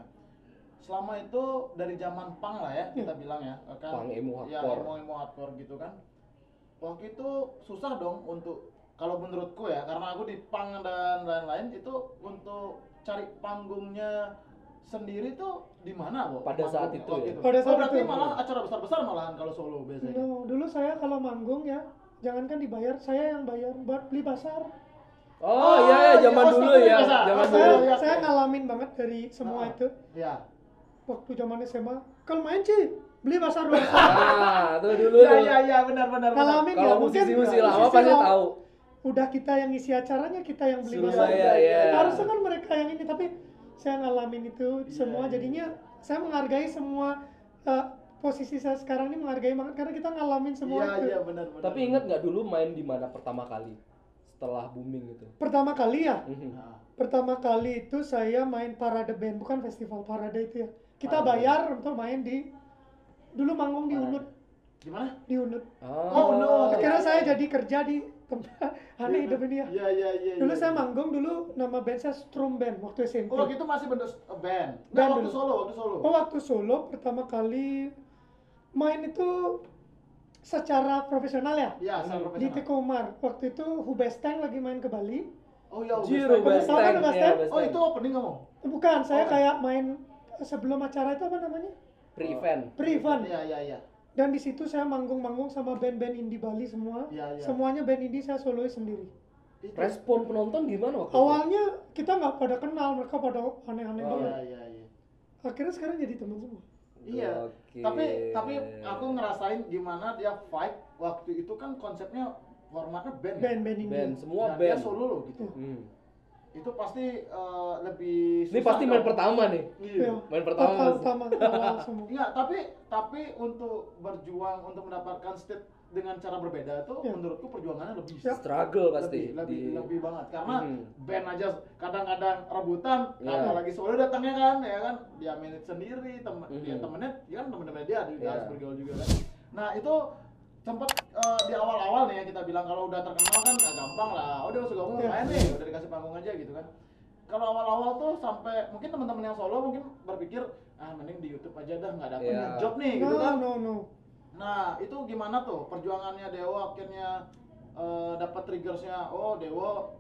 Speaker 4: Selama itu dari zaman punk lah ya kita bilang ya. eh, Kan
Speaker 2: Punk, emo,
Speaker 4: ya,
Speaker 2: hardcore.
Speaker 4: emo, emo hardcore gitu kan. Waktu itu susah dong untuk kalau menurutku ya karena aku di punk dan lain-lain itu untuk cari panggungnya sendiri tuh di mana kok?
Speaker 2: Pada saat itu ya?
Speaker 1: Pada saat
Speaker 4: oh, berarti
Speaker 1: itu. Iya.
Speaker 4: malah acara besar-besar malahan kalau solo biasanya.
Speaker 1: No, dulu saya kalau manggung ya jangankan dibayar saya yang bayar buat beli pasar
Speaker 2: Oh iya ya
Speaker 4: iya,
Speaker 2: zaman
Speaker 4: oh,
Speaker 2: dulu
Speaker 4: seperti
Speaker 2: ya,
Speaker 4: biasa.
Speaker 2: zaman
Speaker 4: Oh,
Speaker 2: dulu.
Speaker 1: saya
Speaker 4: iya,
Speaker 1: saya
Speaker 4: iya.
Speaker 1: ngalamin banget dari semua
Speaker 4: Ah.
Speaker 1: itu
Speaker 4: Iya.
Speaker 1: waktu zaman SMA kalau main sih beli pasar dulu
Speaker 2: Nah, tuh dulu
Speaker 4: Iya
Speaker 2: tuh.
Speaker 4: iya iya benar benar. benar.
Speaker 1: ngalamin ya
Speaker 2: Kalau
Speaker 1: mungkin
Speaker 2: musisi-musisi
Speaker 1: ya,
Speaker 2: lama
Speaker 1: musisi
Speaker 2: pasti
Speaker 1: lama.
Speaker 2: tahu.
Speaker 1: udah kita yang isi acaranya kita yang beli
Speaker 2: Suruh
Speaker 1: pasar
Speaker 2: saya ya.
Speaker 1: harusnya kan mereka yang ini tapi saya ngalamin itu
Speaker 4: Iya,
Speaker 1: semua
Speaker 4: iya.
Speaker 1: jadinya saya menghargai semua eh, posisi saya sekarang ini menghargai banget karena kita ngalamin semua
Speaker 4: iya,
Speaker 1: itu
Speaker 4: Iya, benar benar.
Speaker 2: Tapi ingat nggak dulu main di mana pertama kali setelah booming gitu?
Speaker 1: pertama kali ya
Speaker 2: Mhm.
Speaker 4: Nah,
Speaker 1: pertama kali itu saya main parade band bukan festival parade itu ya kita
Speaker 4: Parade.
Speaker 1: bayar untuk main di dulu manggung di
Speaker 4: Parade.
Speaker 1: Unut
Speaker 4: Gimana?
Speaker 1: di Unut
Speaker 2: Ah.
Speaker 4: Oh, no.
Speaker 1: akhirnya
Speaker 4: iya,
Speaker 1: saya
Speaker 4: iya.
Speaker 1: jadi kerja di tempat (laughs) aneh hidup ini ya
Speaker 4: Iya iya iya.
Speaker 1: dulu
Speaker 4: iya.
Speaker 1: saya manggung dulu nama band saya Strum Band waktu SMP
Speaker 4: Oh, waktu itu masih bentuk eh, band. Nah,
Speaker 1: Band
Speaker 4: waktu
Speaker 1: dulu.
Speaker 4: solo, waktu solo.
Speaker 1: Oh waktu solo pertama kali main itu secara profesional ya
Speaker 4: Iya, saya
Speaker 1: di
Speaker 4: profesional.
Speaker 1: Teko Umar waktu itu Hubestang lagi main ke Bali
Speaker 4: Oh iya,
Speaker 2: Jiro
Speaker 1: Best
Speaker 4: Ubestang.
Speaker 1: Time.
Speaker 2: Basteng.
Speaker 1: Best
Speaker 2: ya,
Speaker 1: Time.
Speaker 2: Best
Speaker 4: Oh,
Speaker 2: Time.
Speaker 4: itu opening kamu?
Speaker 1: bukan saya
Speaker 4: Oh.
Speaker 1: kayak main eh, sebelum acara itu apa namanya
Speaker 2: pre-event.
Speaker 1: pre-event
Speaker 4: Iya iya iya.
Speaker 1: dan di situ saya manggung-manggung sama band-band indie Bali semua
Speaker 4: Iya iya.
Speaker 1: semuanya band indie saya solois sendiri
Speaker 4: Itu.
Speaker 2: Respon penonton gimana waktu itu?
Speaker 1: awalnya kita nggak pada kenal mereka pada aneh-aneh
Speaker 2: Oh.
Speaker 1: banget
Speaker 4: Iya iya iya.
Speaker 1: akhirnya sekarang jadi teman semua
Speaker 4: Iya.
Speaker 2: Gokil.
Speaker 4: Tapi tapi aku ngerasain gimana dia fight waktu itu kan konsepnya formatnya band. ya?
Speaker 1: band-band indie
Speaker 2: band semua
Speaker 4: Dan Dia
Speaker 2: band.
Speaker 4: solo loh gitu.
Speaker 2: Hmm.
Speaker 4: Itu pasti eh,
Speaker 2: Ini
Speaker 4: lebih susah
Speaker 2: pasti main
Speaker 4: dong.
Speaker 2: pertama nih.
Speaker 4: Iya.
Speaker 2: Main pertama. Hmm.
Speaker 1: pertama pertama awal
Speaker 4: (laughs)
Speaker 1: semua
Speaker 4: Enggak, tapi tapi untuk berjuang untuk mendapatkan state dengan cara berbeda itu
Speaker 1: Ya.
Speaker 4: menurutku perjuangannya lebih
Speaker 2: Struggle pasti.
Speaker 4: lebih lebih,
Speaker 2: di-
Speaker 4: lebih banget karena
Speaker 2: Mhm.
Speaker 4: band aja kadang-kadang rebutan,
Speaker 2: Ya.
Speaker 4: apalagi solo datangnya kan ya kan dia manage sendiri, temen dia
Speaker 2: Mhm.
Speaker 4: temennya dia kan temen-temen dia juga
Speaker 2: Ya.
Speaker 4: harus bergaul juga kan. Nah, itu sempat di awal-awal nih ya kita bilang kalau udah terkenal kan nah, gampang lah. Oh, dia suka ngomong
Speaker 1: Ya.
Speaker 4: main nih, udah dikasih panggung aja gitu kan. Kalau awal-awal tuh sampai mungkin teman-teman yang solo mungkin berpikir ah mending di YouTube aja dah nggak dapat
Speaker 2: Ya.
Speaker 4: job
Speaker 1: no
Speaker 4: nih gitu kan.
Speaker 1: no no
Speaker 4: Nah, itu gimana tuh perjuangannya Dewa akhirnya eh, dapat triggersnya? Oh, Dewa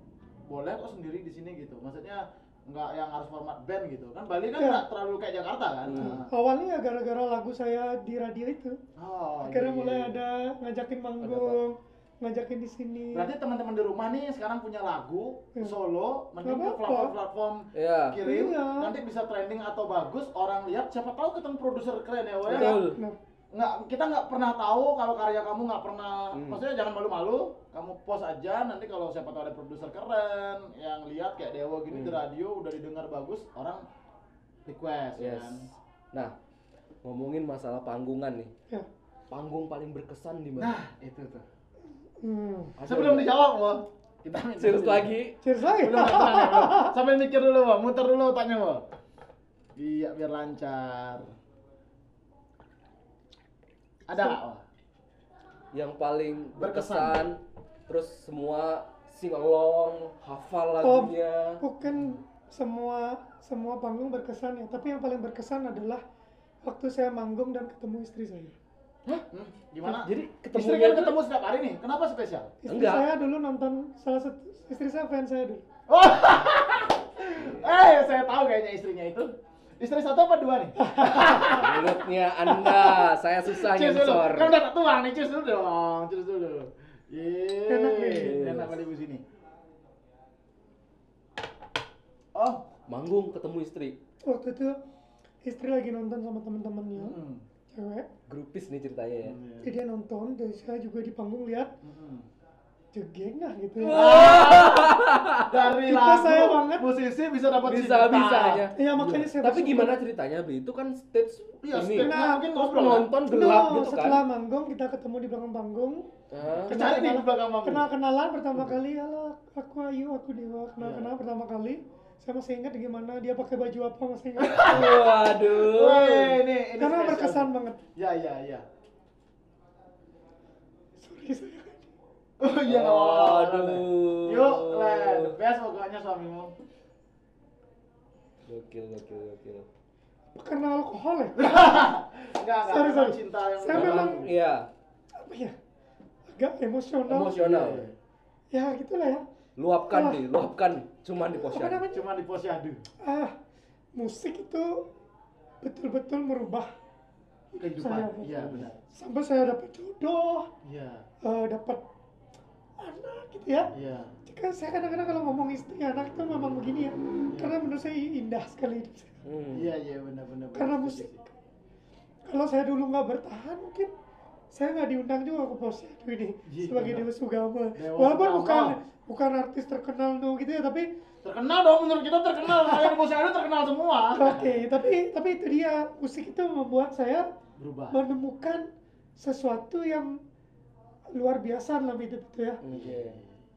Speaker 4: boleh kok sendiri di sini gitu. Maksudnya nggak yang harus format band gitu kan Bali kan
Speaker 1: Iya.
Speaker 4: nggak terlalu kayak Jakarta kan.
Speaker 2: Hmm.
Speaker 4: Nah.
Speaker 1: awalnya ya gara-gara lagu saya di radio itu
Speaker 4: Oh,
Speaker 1: akhirnya
Speaker 4: iya, iya,
Speaker 1: mulai
Speaker 4: iya.
Speaker 1: ada ngajakin manggung ngajakin di sini
Speaker 4: Berarti teman-teman di rumah nih sekarang punya lagu
Speaker 1: Iya.
Speaker 4: solo, mending
Speaker 1: Nggak
Speaker 4: ke
Speaker 1: apa-apa.
Speaker 4: platform-platform
Speaker 2: Iya.
Speaker 4: kirim
Speaker 1: Iya.
Speaker 4: nanti bisa trending atau bagus orang lihat siapa tahu ketemu produser keren ya Wo, ya
Speaker 2: Betul.
Speaker 1: Nah,
Speaker 4: nggak kita nggak pernah tahu kalau karya kamu nggak pernah
Speaker 2: Hmm.
Speaker 4: maksudnya jangan malu-malu kamu post aja nanti kalau siapa tahu ada produser keren yang lihat kayak Dewo gini di
Speaker 2: Hmm.
Speaker 4: radio udah didengar bagus orang request
Speaker 2: Yes.
Speaker 4: kan
Speaker 2: Nah, ngomongin masalah panggungan nih.
Speaker 1: Ya.
Speaker 2: Panggung paling berkesan di
Speaker 4: nah
Speaker 2: mana?
Speaker 4: itu tuh
Speaker 1: hmm.
Speaker 2: Ada
Speaker 4: sebelum
Speaker 2: nggak?
Speaker 4: dijawab loh
Speaker 2: (laughs)
Speaker 4: kita minta
Speaker 2: serius
Speaker 4: dulu.
Speaker 2: lagi.
Speaker 1: Cheers ya. lagi.
Speaker 4: (laughs) belum nggak pernah, nggak pernah. sambil mikir dulu Wo. muter dulu tanya Wo. iya biar lancar ada nggak Wo?
Speaker 2: Yang paling
Speaker 4: Berkesan.
Speaker 2: berkesan, terus semua sing along, hafal lagunya.
Speaker 1: Bukan kan semua semua panggung berkesan ya, tapi yang paling berkesan adalah waktu saya manggung dan ketemu istri saya.
Speaker 4: Hmm, gimana?
Speaker 2: Jadi
Speaker 4: Istri
Speaker 2: ketemunya
Speaker 4: kan
Speaker 2: tuh
Speaker 4: ketemu setiap hari nih. Kenapa spesial?
Speaker 1: Istri
Speaker 2: Enggak.
Speaker 1: saya dulu nonton salah satu istri saya fans saya dulu.
Speaker 4: Oh. (laughs) eh, saya tahu kayaknya istrinya itu. Istri satu apa dua nih?
Speaker 1: Ah,
Speaker 2: mulutnya Anda, saya susah
Speaker 4: Cheers dulu.
Speaker 2: nyensor.
Speaker 4: Kan udah tua nih, cheers dulu dong. Cheers dulu. Yeay.
Speaker 1: Enak
Speaker 4: Enak
Speaker 1: nih.
Speaker 4: kali ibu sini. Oh.
Speaker 2: Manggung ketemu istri.
Speaker 1: Waktu itu istri lagi nonton sama teman-temannya
Speaker 4: Hmm.
Speaker 1: cewek.
Speaker 2: Grupis nih ceritanya ya.
Speaker 1: Jadi dia nonton dan saya juga di panggung lihat
Speaker 4: Hmm.
Speaker 1: jegeng lah gitu ya.
Speaker 4: Dari
Speaker 1: Tipe
Speaker 4: lagu,
Speaker 1: saya banget.
Speaker 4: musisi bisa dapat
Speaker 2: Bisa bisanya.
Speaker 1: Iya, makanya saya
Speaker 2: Tapi
Speaker 1: bersyukur.
Speaker 2: gimana ceritanya, Bli? Itu kan stage
Speaker 4: Iya,
Speaker 2: ini.
Speaker 4: stage-nya mungkin kan?
Speaker 2: terus
Speaker 4: ngobrol,
Speaker 2: penonton gelap
Speaker 1: No,
Speaker 2: gitu
Speaker 1: setelah
Speaker 2: kan.
Speaker 1: manggung kita ketemu di belakang panggung.
Speaker 2: Hah?
Speaker 4: Kecari nih di belakang panggung.
Speaker 1: Kenal-kenalan pertama kali, halo aku Ayu, aku Dewa. Kenal-kenal
Speaker 4: Iya.
Speaker 1: pertama kali. Saya masih ingat gimana dia pakai baju apa masih ingat.
Speaker 2: Waduh.
Speaker 4: Woi, ini ini
Speaker 1: Karena
Speaker 4: spesial.
Speaker 1: berkesan banget.
Speaker 4: Ya, ya, ya. (laughs)
Speaker 1: Sorry saya.
Speaker 4: Oh iya, nggak apa-apa, nggak apa-apa.
Speaker 2: Aduh.
Speaker 4: Yuk, Len, the best pokoknya suamimu.
Speaker 2: Gokil, gokil, gokil.
Speaker 1: Karena alkohol ya.
Speaker 4: Enggak, enggak.
Speaker 1: Sorry,
Speaker 4: memang
Speaker 1: sorry.
Speaker 4: Cinta yang
Speaker 1: Saya memang
Speaker 2: Iya,
Speaker 1: apa ya? Agak emosional.
Speaker 2: emosional.
Speaker 4: Iya, iya.
Speaker 1: Ya gitulah ya.
Speaker 2: Luapkan
Speaker 1: Wah.
Speaker 2: nih, luapkan. Cuman di posyandu.
Speaker 1: Apa namanya?
Speaker 4: Cuma di pos aduh.
Speaker 1: Ah, musik itu betul-betul merubah
Speaker 4: Kehidupan.
Speaker 1: Saya-
Speaker 4: Iya, benar.
Speaker 1: sampai saya dapat jodoh,
Speaker 4: Iya,
Speaker 1: eh, dapat anak gitu ya.
Speaker 4: iya.
Speaker 1: Jika saya kadang-kadang kalau ngomong istri anak itu memang begini ya. Karena menurut saya indah sekali hidup saya.
Speaker 2: Hmm.
Speaker 4: Iya, iya, benar, benar. benar.
Speaker 1: Karena musik. Kalau saya dulu nggak bertahan mungkin saya nggak diundang juga ke bos Aduh ini
Speaker 4: Iya,
Speaker 1: sebagai
Speaker 4: benar.
Speaker 1: Dewa Sugama.
Speaker 4: Dewa
Speaker 1: Walaupun
Speaker 4: Sugama.
Speaker 1: bukan bukan artis terkenal tuh gitu ya, tapi
Speaker 4: Terkenal dong menurut kita
Speaker 1: (laughs)
Speaker 4: terkenal. Yang pos aduh terkenal semua.
Speaker 1: oke, tapi tapi itu dia musik itu membuat saya
Speaker 4: Berubah.
Speaker 1: menemukan sesuatu yang luar biasa dalam hidup itu ya.
Speaker 2: Oke.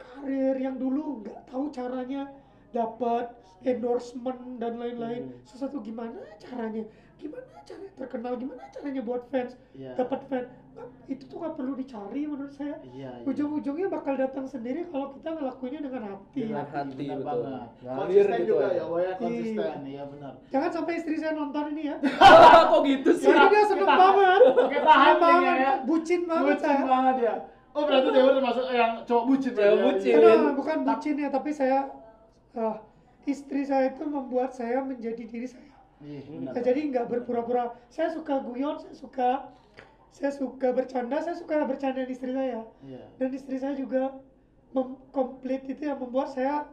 Speaker 1: karir yang dulu nggak tahu caranya dapat endorsement dan lain-lain
Speaker 2: Hmm.
Speaker 1: sesuatu gimana caranya gimana cara terkenal gimana caranya buat fans
Speaker 4: Iya.
Speaker 1: dapat fans Nggak, itu tuh nggak perlu dicari menurut saya
Speaker 4: Iya, iya.
Speaker 1: ujung-ujungnya bakal datang sendiri kalau kita ngelakuinnya dengan hati
Speaker 2: Dengan hati,
Speaker 4: iya, benar
Speaker 2: betul.
Speaker 4: banget.
Speaker 2: Ngalir
Speaker 4: Konsisten
Speaker 2: gitu
Speaker 4: juga
Speaker 2: aja.
Speaker 4: ya, Boy, ya, konsisten. Iya, benar.
Speaker 1: jangan sampai istri saya nonton ini ya
Speaker 2: (laughs) Hahaha, Kok gitu sih?
Speaker 1: Jadi dia seneng
Speaker 4: Kita-
Speaker 1: banget
Speaker 4: Iya. Oke, tahan
Speaker 1: Seneng
Speaker 4: telinga
Speaker 1: banget
Speaker 4: ya.
Speaker 1: bucin banget
Speaker 4: Bucin
Speaker 1: saya
Speaker 4: banget ya. Oh, berarti Dewa termasuk yang cowok bucin.
Speaker 2: Cowok
Speaker 4: Iya,
Speaker 2: bucin.
Speaker 4: iya.
Speaker 1: Karena bukan bucin ya tapi saya eh, istri saya itu membuat saya menjadi diri saya
Speaker 4: Iya, benar.
Speaker 1: Nah, jadi nggak berpura-pura. Saya suka guyon, saya suka saya suka bercanda, saya suka bercanda istri saya.
Speaker 4: Iya.
Speaker 1: Dan istri saya juga komplit itu yang membuat saya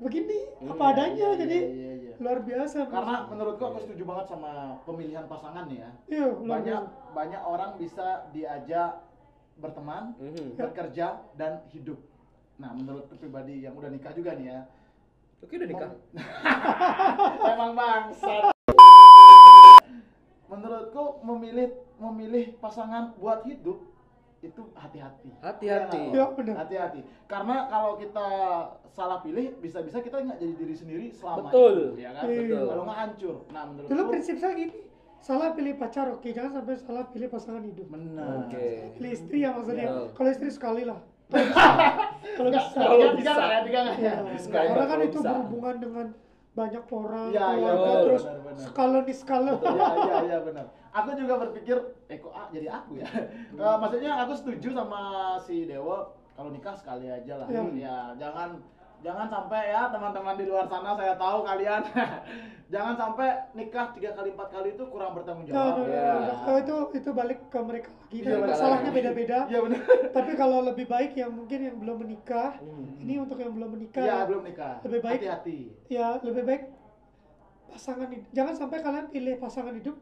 Speaker 1: begini apa adanya.
Speaker 4: iya,
Speaker 1: jadi
Speaker 4: iya, iya.
Speaker 1: luar biasa. Mas.
Speaker 4: Karena menurutku aku setuju banget sama pemilihan pasangan nih ya.
Speaker 1: Iya, luar
Speaker 4: Banyak
Speaker 1: biasa.
Speaker 4: banyak orang bisa diajak berteman,
Speaker 1: Hmm.
Speaker 2: Mhm.
Speaker 4: bekerja dan hidup. Nah, menurut pribadi yang udah nikah juga nih ya.
Speaker 2: Oke udah nikah.
Speaker 4: Emang bangsat. Menurutku memilih memilih pasangan buat hidup itu hati-hati.
Speaker 2: Hati-hati.
Speaker 1: Iya, benar.
Speaker 4: Hati-hati. Karena kalau kita salah pilih, bisa-bisa kita nggak jadi diri sendiri selama
Speaker 2: Betul.
Speaker 4: itu, ya kan?
Speaker 1: Iya. Betul.
Speaker 4: Kalau nggak hancur. Nah, menurutku
Speaker 1: Dulu prinsip saya gini, salah pilih pacar oke, jangan sampai salah pilih pasangan hidup.
Speaker 4: benar.
Speaker 2: Oke.
Speaker 1: Pilih istri ya maksudnya.
Speaker 2: Iya.
Speaker 1: Kalau istri sekali
Speaker 4: (laughs)
Speaker 1: lah. Kalau
Speaker 4: Nggak,
Speaker 1: bisa.
Speaker 2: Kalau
Speaker 4: tiga- tiga
Speaker 2: bisa.
Speaker 4: nggak ya, tiga nggak ya?
Speaker 1: Ya,
Speaker 2: Sekali
Speaker 1: karena
Speaker 2: nggak
Speaker 1: kan
Speaker 2: kalau
Speaker 1: itu
Speaker 2: bisa.
Speaker 1: berhubungan dengan banyak orang,
Speaker 4: Iya, iya,
Speaker 1: keluarga,
Speaker 2: benar,
Speaker 1: terus
Speaker 4: benar, benar.
Speaker 1: skala di skala. (laughs)
Speaker 4: Iya, iya, iya benar. Aku juga berpikir, eh kok A jadi aku ya?
Speaker 1: Hmm.
Speaker 4: Eh, maksudnya aku setuju sama si Dewo kalau nikah sekali aja lah.
Speaker 1: Iya.
Speaker 4: Ya, jangan jangan sampai ya teman-teman di luar sana saya tahu kalian (laughs) jangan sampai nikah tiga kali empat kali itu kurang bertanggung
Speaker 1: No, no,
Speaker 4: jawab.
Speaker 1: no,
Speaker 2: Iya.
Speaker 1: no, no. Oh, itu itu balik ke mereka lagi.
Speaker 4: Iya,
Speaker 1: Dan
Speaker 4: balik
Speaker 1: masalahnya
Speaker 4: lagi.
Speaker 1: beda-beda.
Speaker 4: Iya benar.
Speaker 1: Tapi kalau lebih baik yang mungkin yang belum menikah,
Speaker 2: Hmm.
Speaker 1: ini untuk yang belum menikah,
Speaker 4: Iya, belum nikah.
Speaker 1: Lebih baik.
Speaker 4: hati-hati.
Speaker 1: ya lebih baik pasangan hidup. Jangan sampai kalian pilih pasangan hidup,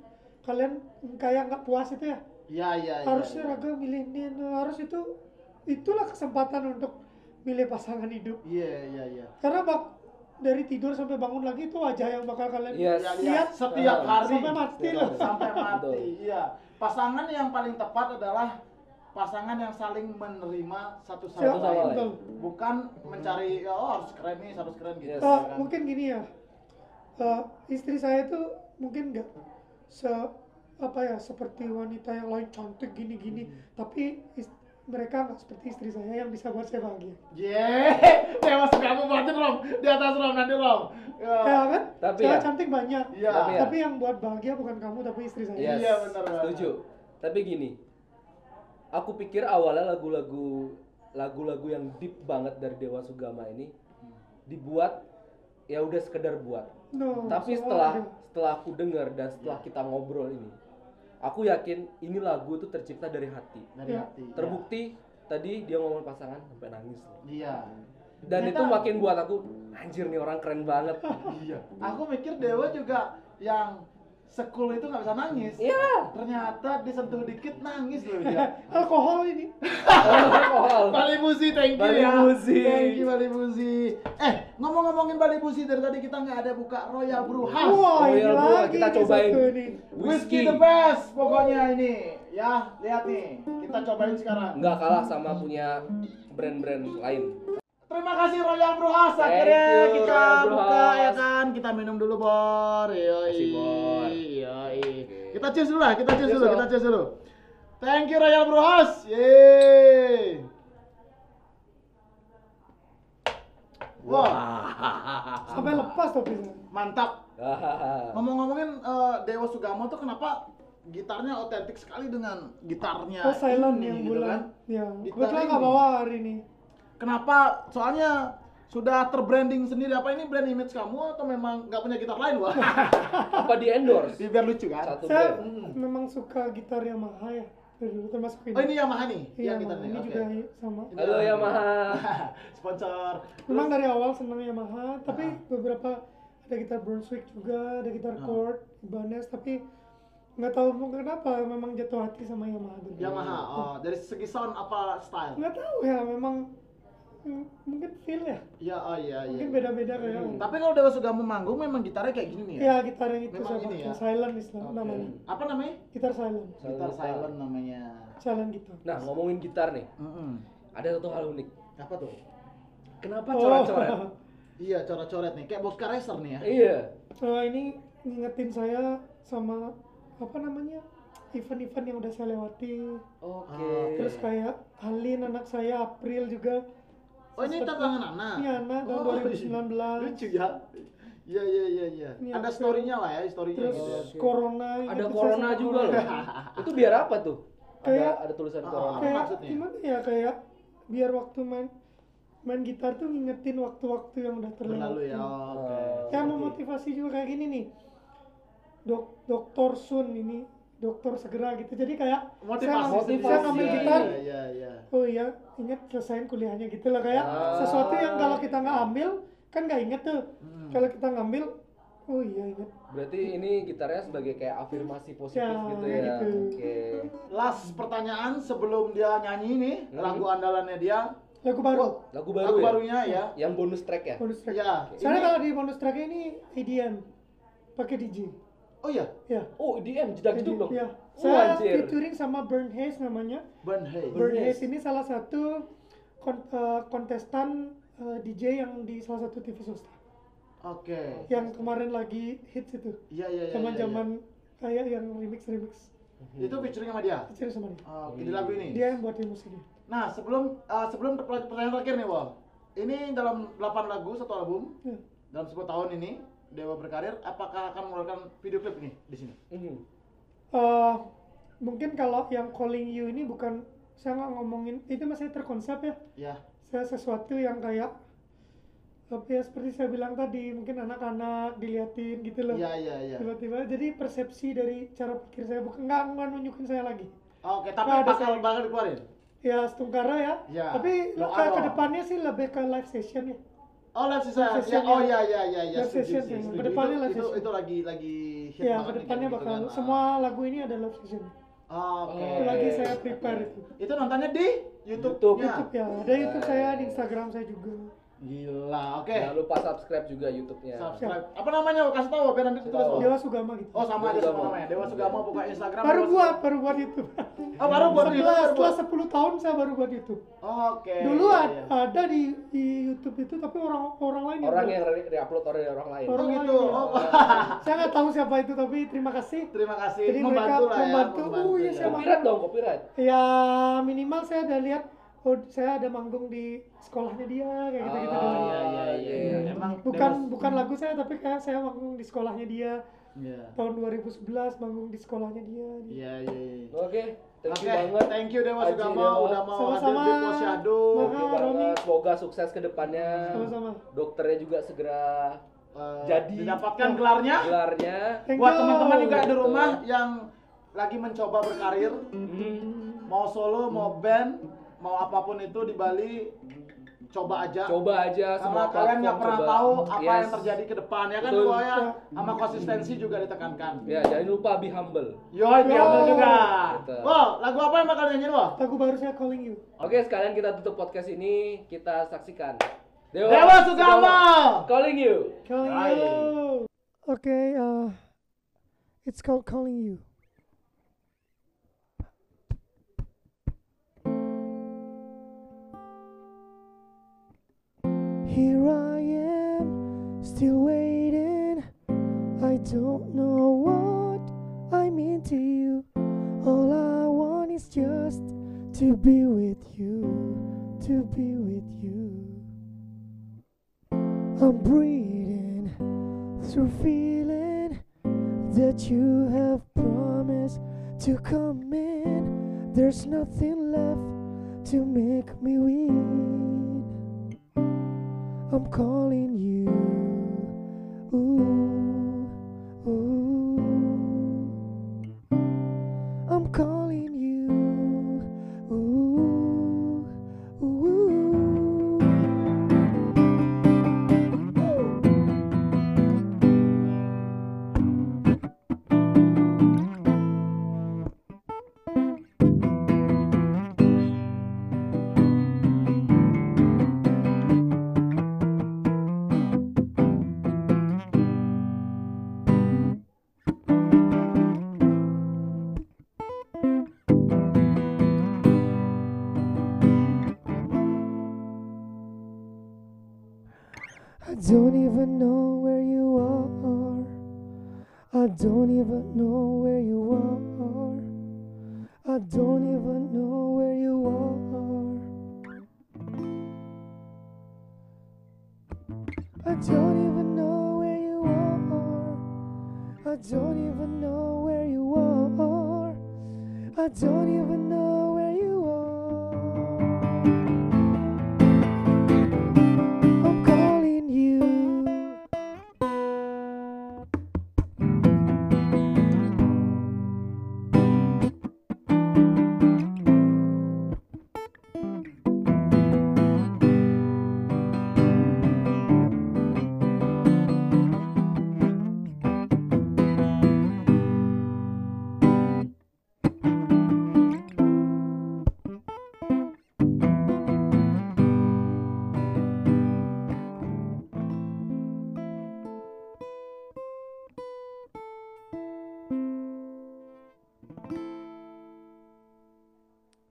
Speaker 1: kalian kayak nggak puas itu ya.
Speaker 4: Iya, iya, iya.
Speaker 1: Harusnya
Speaker 4: iya.
Speaker 1: raga milih ini, ini, harus itu itulah kesempatan untuk milih pasangan hidup.
Speaker 4: Iya, iya, iya.
Speaker 1: Karena bak dari tidur sampai bangun lagi itu wajah yang bakal kalian
Speaker 2: Yes.
Speaker 4: Iya, iya.
Speaker 1: lihat
Speaker 4: Setiap hari.
Speaker 1: sampai mati loh.
Speaker 4: sampai mati
Speaker 2: Iya, (laughs) Betul.
Speaker 4: iya pasangan yang paling tepat adalah pasangan yang saling menerima satu sama
Speaker 1: Satu sama
Speaker 4: lain
Speaker 1: lain.
Speaker 4: bukan mencari "Ya, oh harus keren nih harus keren gitu
Speaker 1: Eh,
Speaker 2: Yes.
Speaker 4: kan.
Speaker 1: mungkin gini ya, eh, istri saya itu mungkin nggak se apa ya seperti wanita yang lain cantik gini-gini,
Speaker 2: Hmm.
Speaker 1: tapi is- mereka nggak seperti istri saya yang bisa buat saya bahagia.
Speaker 4: Yeay, dewa suka aku buatin rom di atas rom nanti rom ya
Speaker 1: Ya kan?
Speaker 2: Oh, Tapi
Speaker 1: Cewek
Speaker 2: ya.
Speaker 1: cantik banyak.
Speaker 4: Iya.
Speaker 1: Tapi yang buat bahagia bukan kamu tapi istri saya.
Speaker 2: Yes.
Speaker 4: Iya, benar Iya, banget.
Speaker 2: Setuju. Tapi gini, aku pikir awalnya lagu-lagu lagu-lagu yang deep banget dari Dewa Sugama ini dibuat ya udah sekedar buat.
Speaker 4: Oh,
Speaker 1: No,
Speaker 2: Tapi
Speaker 1: semua
Speaker 2: setelah
Speaker 1: ada.
Speaker 2: setelah aku dengar dan setelah
Speaker 4: Iya.
Speaker 2: kita ngobrol ini, aku yakin ini lagu itu tercipta dari hati.
Speaker 4: dari
Speaker 1: Iya.
Speaker 4: hati.
Speaker 2: Terbukti tadi dia ngomong pasangan sampai nangis. loh.
Speaker 4: Iya.
Speaker 2: Dan itu
Speaker 4: Ternyata-
Speaker 2: makin buat aku anjir nih orang keren
Speaker 4: (laughs)
Speaker 2: banget.
Speaker 4: Iya. Aku mikir Dewa juga yang sekul itu nggak bisa nangis.
Speaker 2: Iya.
Speaker 4: Ternyata disentuh dikit nangis loh dia.
Speaker 1: alkohol ini
Speaker 2: Alkohol.
Speaker 4: Bali Busi, thank you
Speaker 2: Bali
Speaker 4: ya.
Speaker 2: Busi.
Speaker 4: Thank you Bali Busi. Eh, ngomong-ngomongin Bali Busi dari tadi kita nggak ada buka Royal Brew House.
Speaker 1: wah ini
Speaker 2: Royal Blue,
Speaker 1: lagi
Speaker 2: Ah, kita
Speaker 1: nih
Speaker 2: cobain.
Speaker 1: satu nih.
Speaker 4: Whiskey the best pokoknya ini. Ya, lihat nih. Kita cobain sekarang.
Speaker 2: nggak kalah sama punya brand-brand lain. (laughs)
Speaker 4: Terima kasih Royal Brew House
Speaker 2: Thank
Speaker 4: akhirnya
Speaker 2: you,
Speaker 4: kita
Speaker 2: Royal Brew
Speaker 4: buka ya
Speaker 2: House.
Speaker 4: kan. Kita minum dulu bor. Yoi.
Speaker 2: Kasih, Bor.
Speaker 4: Yoi.
Speaker 2: Oke.
Speaker 4: Kita cheers dulu lah, kita cheers
Speaker 2: Cheers
Speaker 4: dulu,
Speaker 2: dong.
Speaker 4: kita cheers dulu. Thank you Royal Brew House. Yeay. Wah, (laughs)
Speaker 1: sampai lepas tapi
Speaker 4: mantap.
Speaker 2: Hahaha.
Speaker 4: Ngomong-ngomongin eh, Dewa Sugamo tuh kenapa gitarnya otentik sekali dengan gitarnya
Speaker 1: oh silent
Speaker 4: ini,
Speaker 1: yang
Speaker 4: gitu
Speaker 1: bulan
Speaker 4: kan?
Speaker 1: ya
Speaker 4: Gitar
Speaker 1: kebetulan nggak
Speaker 4: ini.
Speaker 1: bawa hari ini
Speaker 4: Kenapa? Soalnya sudah terbranding sendiri apa ini brand image kamu atau memang nggak punya gitar lain wah?
Speaker 1: (laughs)
Speaker 2: Apa di endorse?
Speaker 4: Biar lucu kan?
Speaker 2: Satu
Speaker 1: saya
Speaker 2: brand.
Speaker 1: memang suka gitar yang mahal ya dari dulu termasuk ini
Speaker 4: Oh ini Yamaha nih,
Speaker 1: iya
Speaker 4: yang
Speaker 1: Yamaha.
Speaker 4: gitarnya.
Speaker 1: ini
Speaker 4: Oke.
Speaker 1: juga sama
Speaker 4: Ini
Speaker 2: Halo Yamaha.
Speaker 4: (laughs) Sponsor.
Speaker 1: memang dari awal seneng Yamaha tapi
Speaker 4: Ah.
Speaker 1: beberapa ada gitar Brunswick juga ada gitar
Speaker 4: Ah.
Speaker 1: chord Ibanez tapi nggak tahu mau kenapa memang jatuh hati sama Yamaha dulu.
Speaker 4: Yamaha. Oh, dari segi sound apa style?
Speaker 1: nggak tahu ya memang mm, mungkin feel ya
Speaker 4: Iya, oh iya iya.
Speaker 1: mungkin beda-beda kayak
Speaker 2: Hmm.
Speaker 4: Tapi kalau Dewa Sugamo manggung memang gitarnya kayak gini nih ya.
Speaker 1: ya gitar yang itu
Speaker 4: Memang
Speaker 1: saya
Speaker 4: ini
Speaker 1: pakai
Speaker 4: ya?
Speaker 1: silent istilah
Speaker 4: Oke.
Speaker 1: namanya
Speaker 4: Apa namanya?
Speaker 1: gitar silent
Speaker 4: Gitar silent namanya.
Speaker 1: silent gitar
Speaker 2: Nah, ngomongin gitar nih,
Speaker 4: Mm-mm.
Speaker 2: ada satu hal unik.
Speaker 4: Apa tuh? Nah,
Speaker 2: Kenapa
Speaker 1: Oh.
Speaker 2: coret-coret?
Speaker 1: (laughs)
Speaker 4: Iya, coret-coret nih, kayak Boxcar Racer nih ya.
Speaker 2: Iya.
Speaker 1: Eh, ini ngingetin saya sama apa namanya event-event yang udah saya lewati
Speaker 2: Oke.
Speaker 1: Ah, terus
Speaker 4: Iya.
Speaker 1: kayak Halin anak saya April juga
Speaker 4: Oh, ini
Speaker 1: Seperti-
Speaker 4: tantangan anak.
Speaker 1: Iya, anak tahun
Speaker 4: Oh,
Speaker 1: 2019.
Speaker 4: Lucu ya. Iya, iya, iya, iya.
Speaker 1: Ini
Speaker 4: Ada
Speaker 1: apa?
Speaker 4: story-nya lah ya, story-nya
Speaker 1: terus
Speaker 4: gitu ya.
Speaker 2: Oke.
Speaker 1: corona
Speaker 2: Ada
Speaker 1: ingetin saya
Speaker 2: corona
Speaker 1: sama
Speaker 2: juga
Speaker 1: corona.
Speaker 2: loh. Itu biar apa tuh? Ada
Speaker 1: Kayak-
Speaker 2: ada tulisan
Speaker 4: Ah,
Speaker 2: corona.
Speaker 4: Apa
Speaker 1: kayak
Speaker 4: maksudnya?
Speaker 1: gimana ya kayak biar waktu main main gitar tuh ngingetin waktu-waktu yang udah
Speaker 4: Berlalu
Speaker 1: terlewati
Speaker 4: ya. oh, Oke.
Speaker 1: saya mau motivasi juga kayak gini nih dok dokter Sun ini dokter segera gitu jadi kayak saya,
Speaker 4: Motivasi.
Speaker 1: ngambil-
Speaker 2: sendiri.
Speaker 1: saya ngambil
Speaker 2: Iya,
Speaker 1: gitar
Speaker 4: Iya, iya, iya.
Speaker 1: oh iya ingat selesain kuliahnya gitu lah kayak
Speaker 2: Ah.
Speaker 1: sesuatu yang kalau kita nggak ambil kan nggak inget tuh
Speaker 4: Hmm.
Speaker 2: Hmm.
Speaker 1: kalau kita ngambil oh iya inget
Speaker 2: Berarti ini gitarnya sebagai kayak afirmasi positif
Speaker 1: Ya,
Speaker 2: gitu ya.
Speaker 1: gitu.
Speaker 2: Oke.
Speaker 4: Last pertanyaan sebelum dia nyanyi nih,
Speaker 2: Hmm.
Speaker 4: lagu andalannya dia.
Speaker 1: lagu baru iya.
Speaker 2: Lagu baru
Speaker 4: Lagu
Speaker 2: ya?
Speaker 4: barunya ya.
Speaker 2: Yang bonus track ya?
Speaker 1: bonus track
Speaker 4: Iya.
Speaker 1: soalnya
Speaker 4: ini-
Speaker 1: kalau di bonus track ini IDM pakai DJ
Speaker 4: Oh iya,
Speaker 1: ya
Speaker 2: Oh, EDM jedak jeduk dong.
Speaker 1: ya
Speaker 2: Oh,
Speaker 1: saya
Speaker 2: anjir.
Speaker 1: featuring sama Burn Hayes namanya
Speaker 4: Burn Hay.
Speaker 2: Burn
Speaker 1: Burn
Speaker 2: Hayes.
Speaker 1: Hayes ini salah satu kon- eh, kontestan eh, DJ yang di salah satu TV swasta
Speaker 4: Oke.
Speaker 1: yang kemarin lagi hits
Speaker 2: Ya,
Speaker 1: itu
Speaker 4: Iya, iya, iya. iya,
Speaker 1: zaman-zaman kayak yang remix remix
Speaker 4: iya. Itu featuring sama dia.
Speaker 1: kecil sama dia
Speaker 4: Oke, di lagu ini.
Speaker 1: dia yang buatin musiknya
Speaker 4: Nah, sebelum eh, sebelum per- pertanyaan terakhir nih, Wal. Ini dalam 8 lagu satu album
Speaker 1: Ya.
Speaker 4: dalam 10 tahun ini Dewa berkarir apakah akan mengeluarkan video klip nih di sini?
Speaker 2: Mhm.
Speaker 1: Eh, mungkin kalau yang calling you ini bukan saya nggak ngomongin itu masih terkonsep ya
Speaker 4: Ya.
Speaker 1: saya sesuatu yang kayak apa ya seperti saya bilang tadi mungkin anak-anak diliatin gitu loh
Speaker 4: Iya, iya, iya.
Speaker 1: tiba-tiba jadi persepsi dari cara pikir saya bukan nggak nggak nunjukin saya lagi
Speaker 4: Oke, tapi
Speaker 1: Nah, ada
Speaker 4: bakal
Speaker 1: saya-
Speaker 4: bakal dikeluarin.
Speaker 1: ya setungkara ya,
Speaker 4: Ya,
Speaker 1: tapi
Speaker 4: doa
Speaker 1: ke,
Speaker 4: doang.
Speaker 1: ke depannya sih lebih ke live session ya
Speaker 4: Oh, live session.
Speaker 1: Live session
Speaker 4: Ya, oh
Speaker 1: ya.
Speaker 4: iya iya iya iya.
Speaker 1: Live session
Speaker 4: sih,
Speaker 1: ya.
Speaker 4: setuju.
Speaker 1: Kedepannya
Speaker 4: itu,
Speaker 1: live
Speaker 4: itu,
Speaker 1: session.
Speaker 4: itu lagi lagi hit
Speaker 1: ya
Speaker 4: banget
Speaker 1: ke
Speaker 4: nih,
Speaker 1: depannya
Speaker 4: kayak gitu
Speaker 1: bakal
Speaker 4: kan.
Speaker 1: semua lagu ini ada live session
Speaker 4: Ah, Oke.
Speaker 2: Oh,
Speaker 1: Itu lagi saya prepare itu
Speaker 4: Itu nontonnya di YouTube.
Speaker 2: YouTube.
Speaker 1: YouTube ya ada YouTube saya di Instagram saya juga
Speaker 4: Gila. Oke.
Speaker 1: Eh.
Speaker 2: Jangan lupa subscribe juga YouTube-nya.
Speaker 4: Subscribe. Apa namanya? Wal? Kasih tahu Wal, biar nanti ditulis. Wal.
Speaker 1: Dewa Sugama gitu
Speaker 4: Oh, sama
Speaker 2: Dewa
Speaker 4: aja semua
Speaker 2: Sugamo.
Speaker 4: namanya. Dewa Sugamo buka Instagram.
Speaker 1: baru
Speaker 4: Dewa
Speaker 1: buat
Speaker 4: Sugamo.
Speaker 1: baru buat YouTube
Speaker 4: Oh, baru
Speaker 1: setelah
Speaker 4: buat di YouTube,
Speaker 1: setelah
Speaker 4: baru buat.
Speaker 1: 10 tahun saya baru buat YouTube
Speaker 4: Oke.
Speaker 1: dulu
Speaker 4: iya,
Speaker 1: ad-
Speaker 4: iya.
Speaker 1: ada di, di YouTube itu tapi orang orang lain yang
Speaker 2: Orang
Speaker 1: buat.
Speaker 2: yang re- re-upload oleh orang lain.
Speaker 1: Orang
Speaker 4: Oh
Speaker 1: lain
Speaker 4: gitu.
Speaker 1: ya.
Speaker 4: Oh,
Speaker 1: saya nggak tahu siapa itu tapi terima kasih
Speaker 4: terima kasih
Speaker 1: Jadi mereka
Speaker 4: membantu lah ya.
Speaker 1: membantu. Oh, iya, saya
Speaker 2: Copyright dong, copyright.
Speaker 1: ya minimal saya ada lihat oh saya ada manggung di sekolahnya dia kayak gitu gitu
Speaker 2: Ah,
Speaker 4: iya, iya, iya.
Speaker 2: iya.
Speaker 4: Emang
Speaker 1: bukan
Speaker 4: Dewa-
Speaker 1: bukan lagu saya tapi kayak saya manggung di sekolahnya dia
Speaker 4: Iya.
Speaker 1: tahun 2011 manggung di sekolahnya dia di
Speaker 4: Iya, iya, iya.
Speaker 2: Oke, thank you
Speaker 4: Oke,
Speaker 2: banget.
Speaker 4: Thank you Dewa
Speaker 2: Haji
Speaker 4: sudah mau
Speaker 2: Dewa.
Speaker 4: udah mau
Speaker 1: Sama-sama.
Speaker 4: hadir di Posyandu.
Speaker 1: Maka-
Speaker 2: Oke
Speaker 1: Ah,
Speaker 2: banget.
Speaker 1: Romi.
Speaker 2: Semoga sukses ke depannya.
Speaker 1: sama-sama
Speaker 2: Dokternya juga segera
Speaker 4: Eh,
Speaker 2: Jadi- Iya.
Speaker 4: didapatkan gelarnya
Speaker 2: gelarnya.
Speaker 1: Thank
Speaker 4: buat
Speaker 1: you.
Speaker 4: teman-teman juga di rumah yang lagi mencoba berkarir,
Speaker 2: Hmm,
Speaker 4: mau solo, mau band, mau apapun itu di Bali coba aja.
Speaker 2: coba aja
Speaker 4: Karena
Speaker 2: semua
Speaker 4: kalian nggak
Speaker 2: platform,
Speaker 4: pernah
Speaker 2: coba.
Speaker 4: tahu apa yang
Speaker 2: Yes.
Speaker 4: terjadi ke depan ya kan
Speaker 2: Betul.
Speaker 4: gua ya sama konsistensi juga ditekankan.
Speaker 2: Ya, jangan lupa be humble.
Speaker 4: Yoi, biar
Speaker 1: Yo.
Speaker 4: juga.
Speaker 2: Betul.
Speaker 4: Wow, lagu apa yang bakal nyanyiin Wow?
Speaker 1: lagu baru saya calling you
Speaker 2: Oke, sekalian kita tutup podcast ini, kita saksikan.
Speaker 4: Dewa Sugama.
Speaker 2: calling you.
Speaker 1: calling
Speaker 4: Right.
Speaker 1: you okay uh, it's called calling you Here I am, still waiting. I don't know what I mean to you. All I want is just to be with you, to be with you. I'm breathing through feeling that you have promised to come in. There's nothing left to make me weak. I'm calling you. Ooh, ooh. I'm calling you. Ooh, ooh. I don't even know where you are. I don't even know where you are. I don't even know where you are. I don't even know where you are. I don't even know where you are. I don't even know where you are. I'm calling you.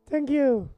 Speaker 1: Thank you.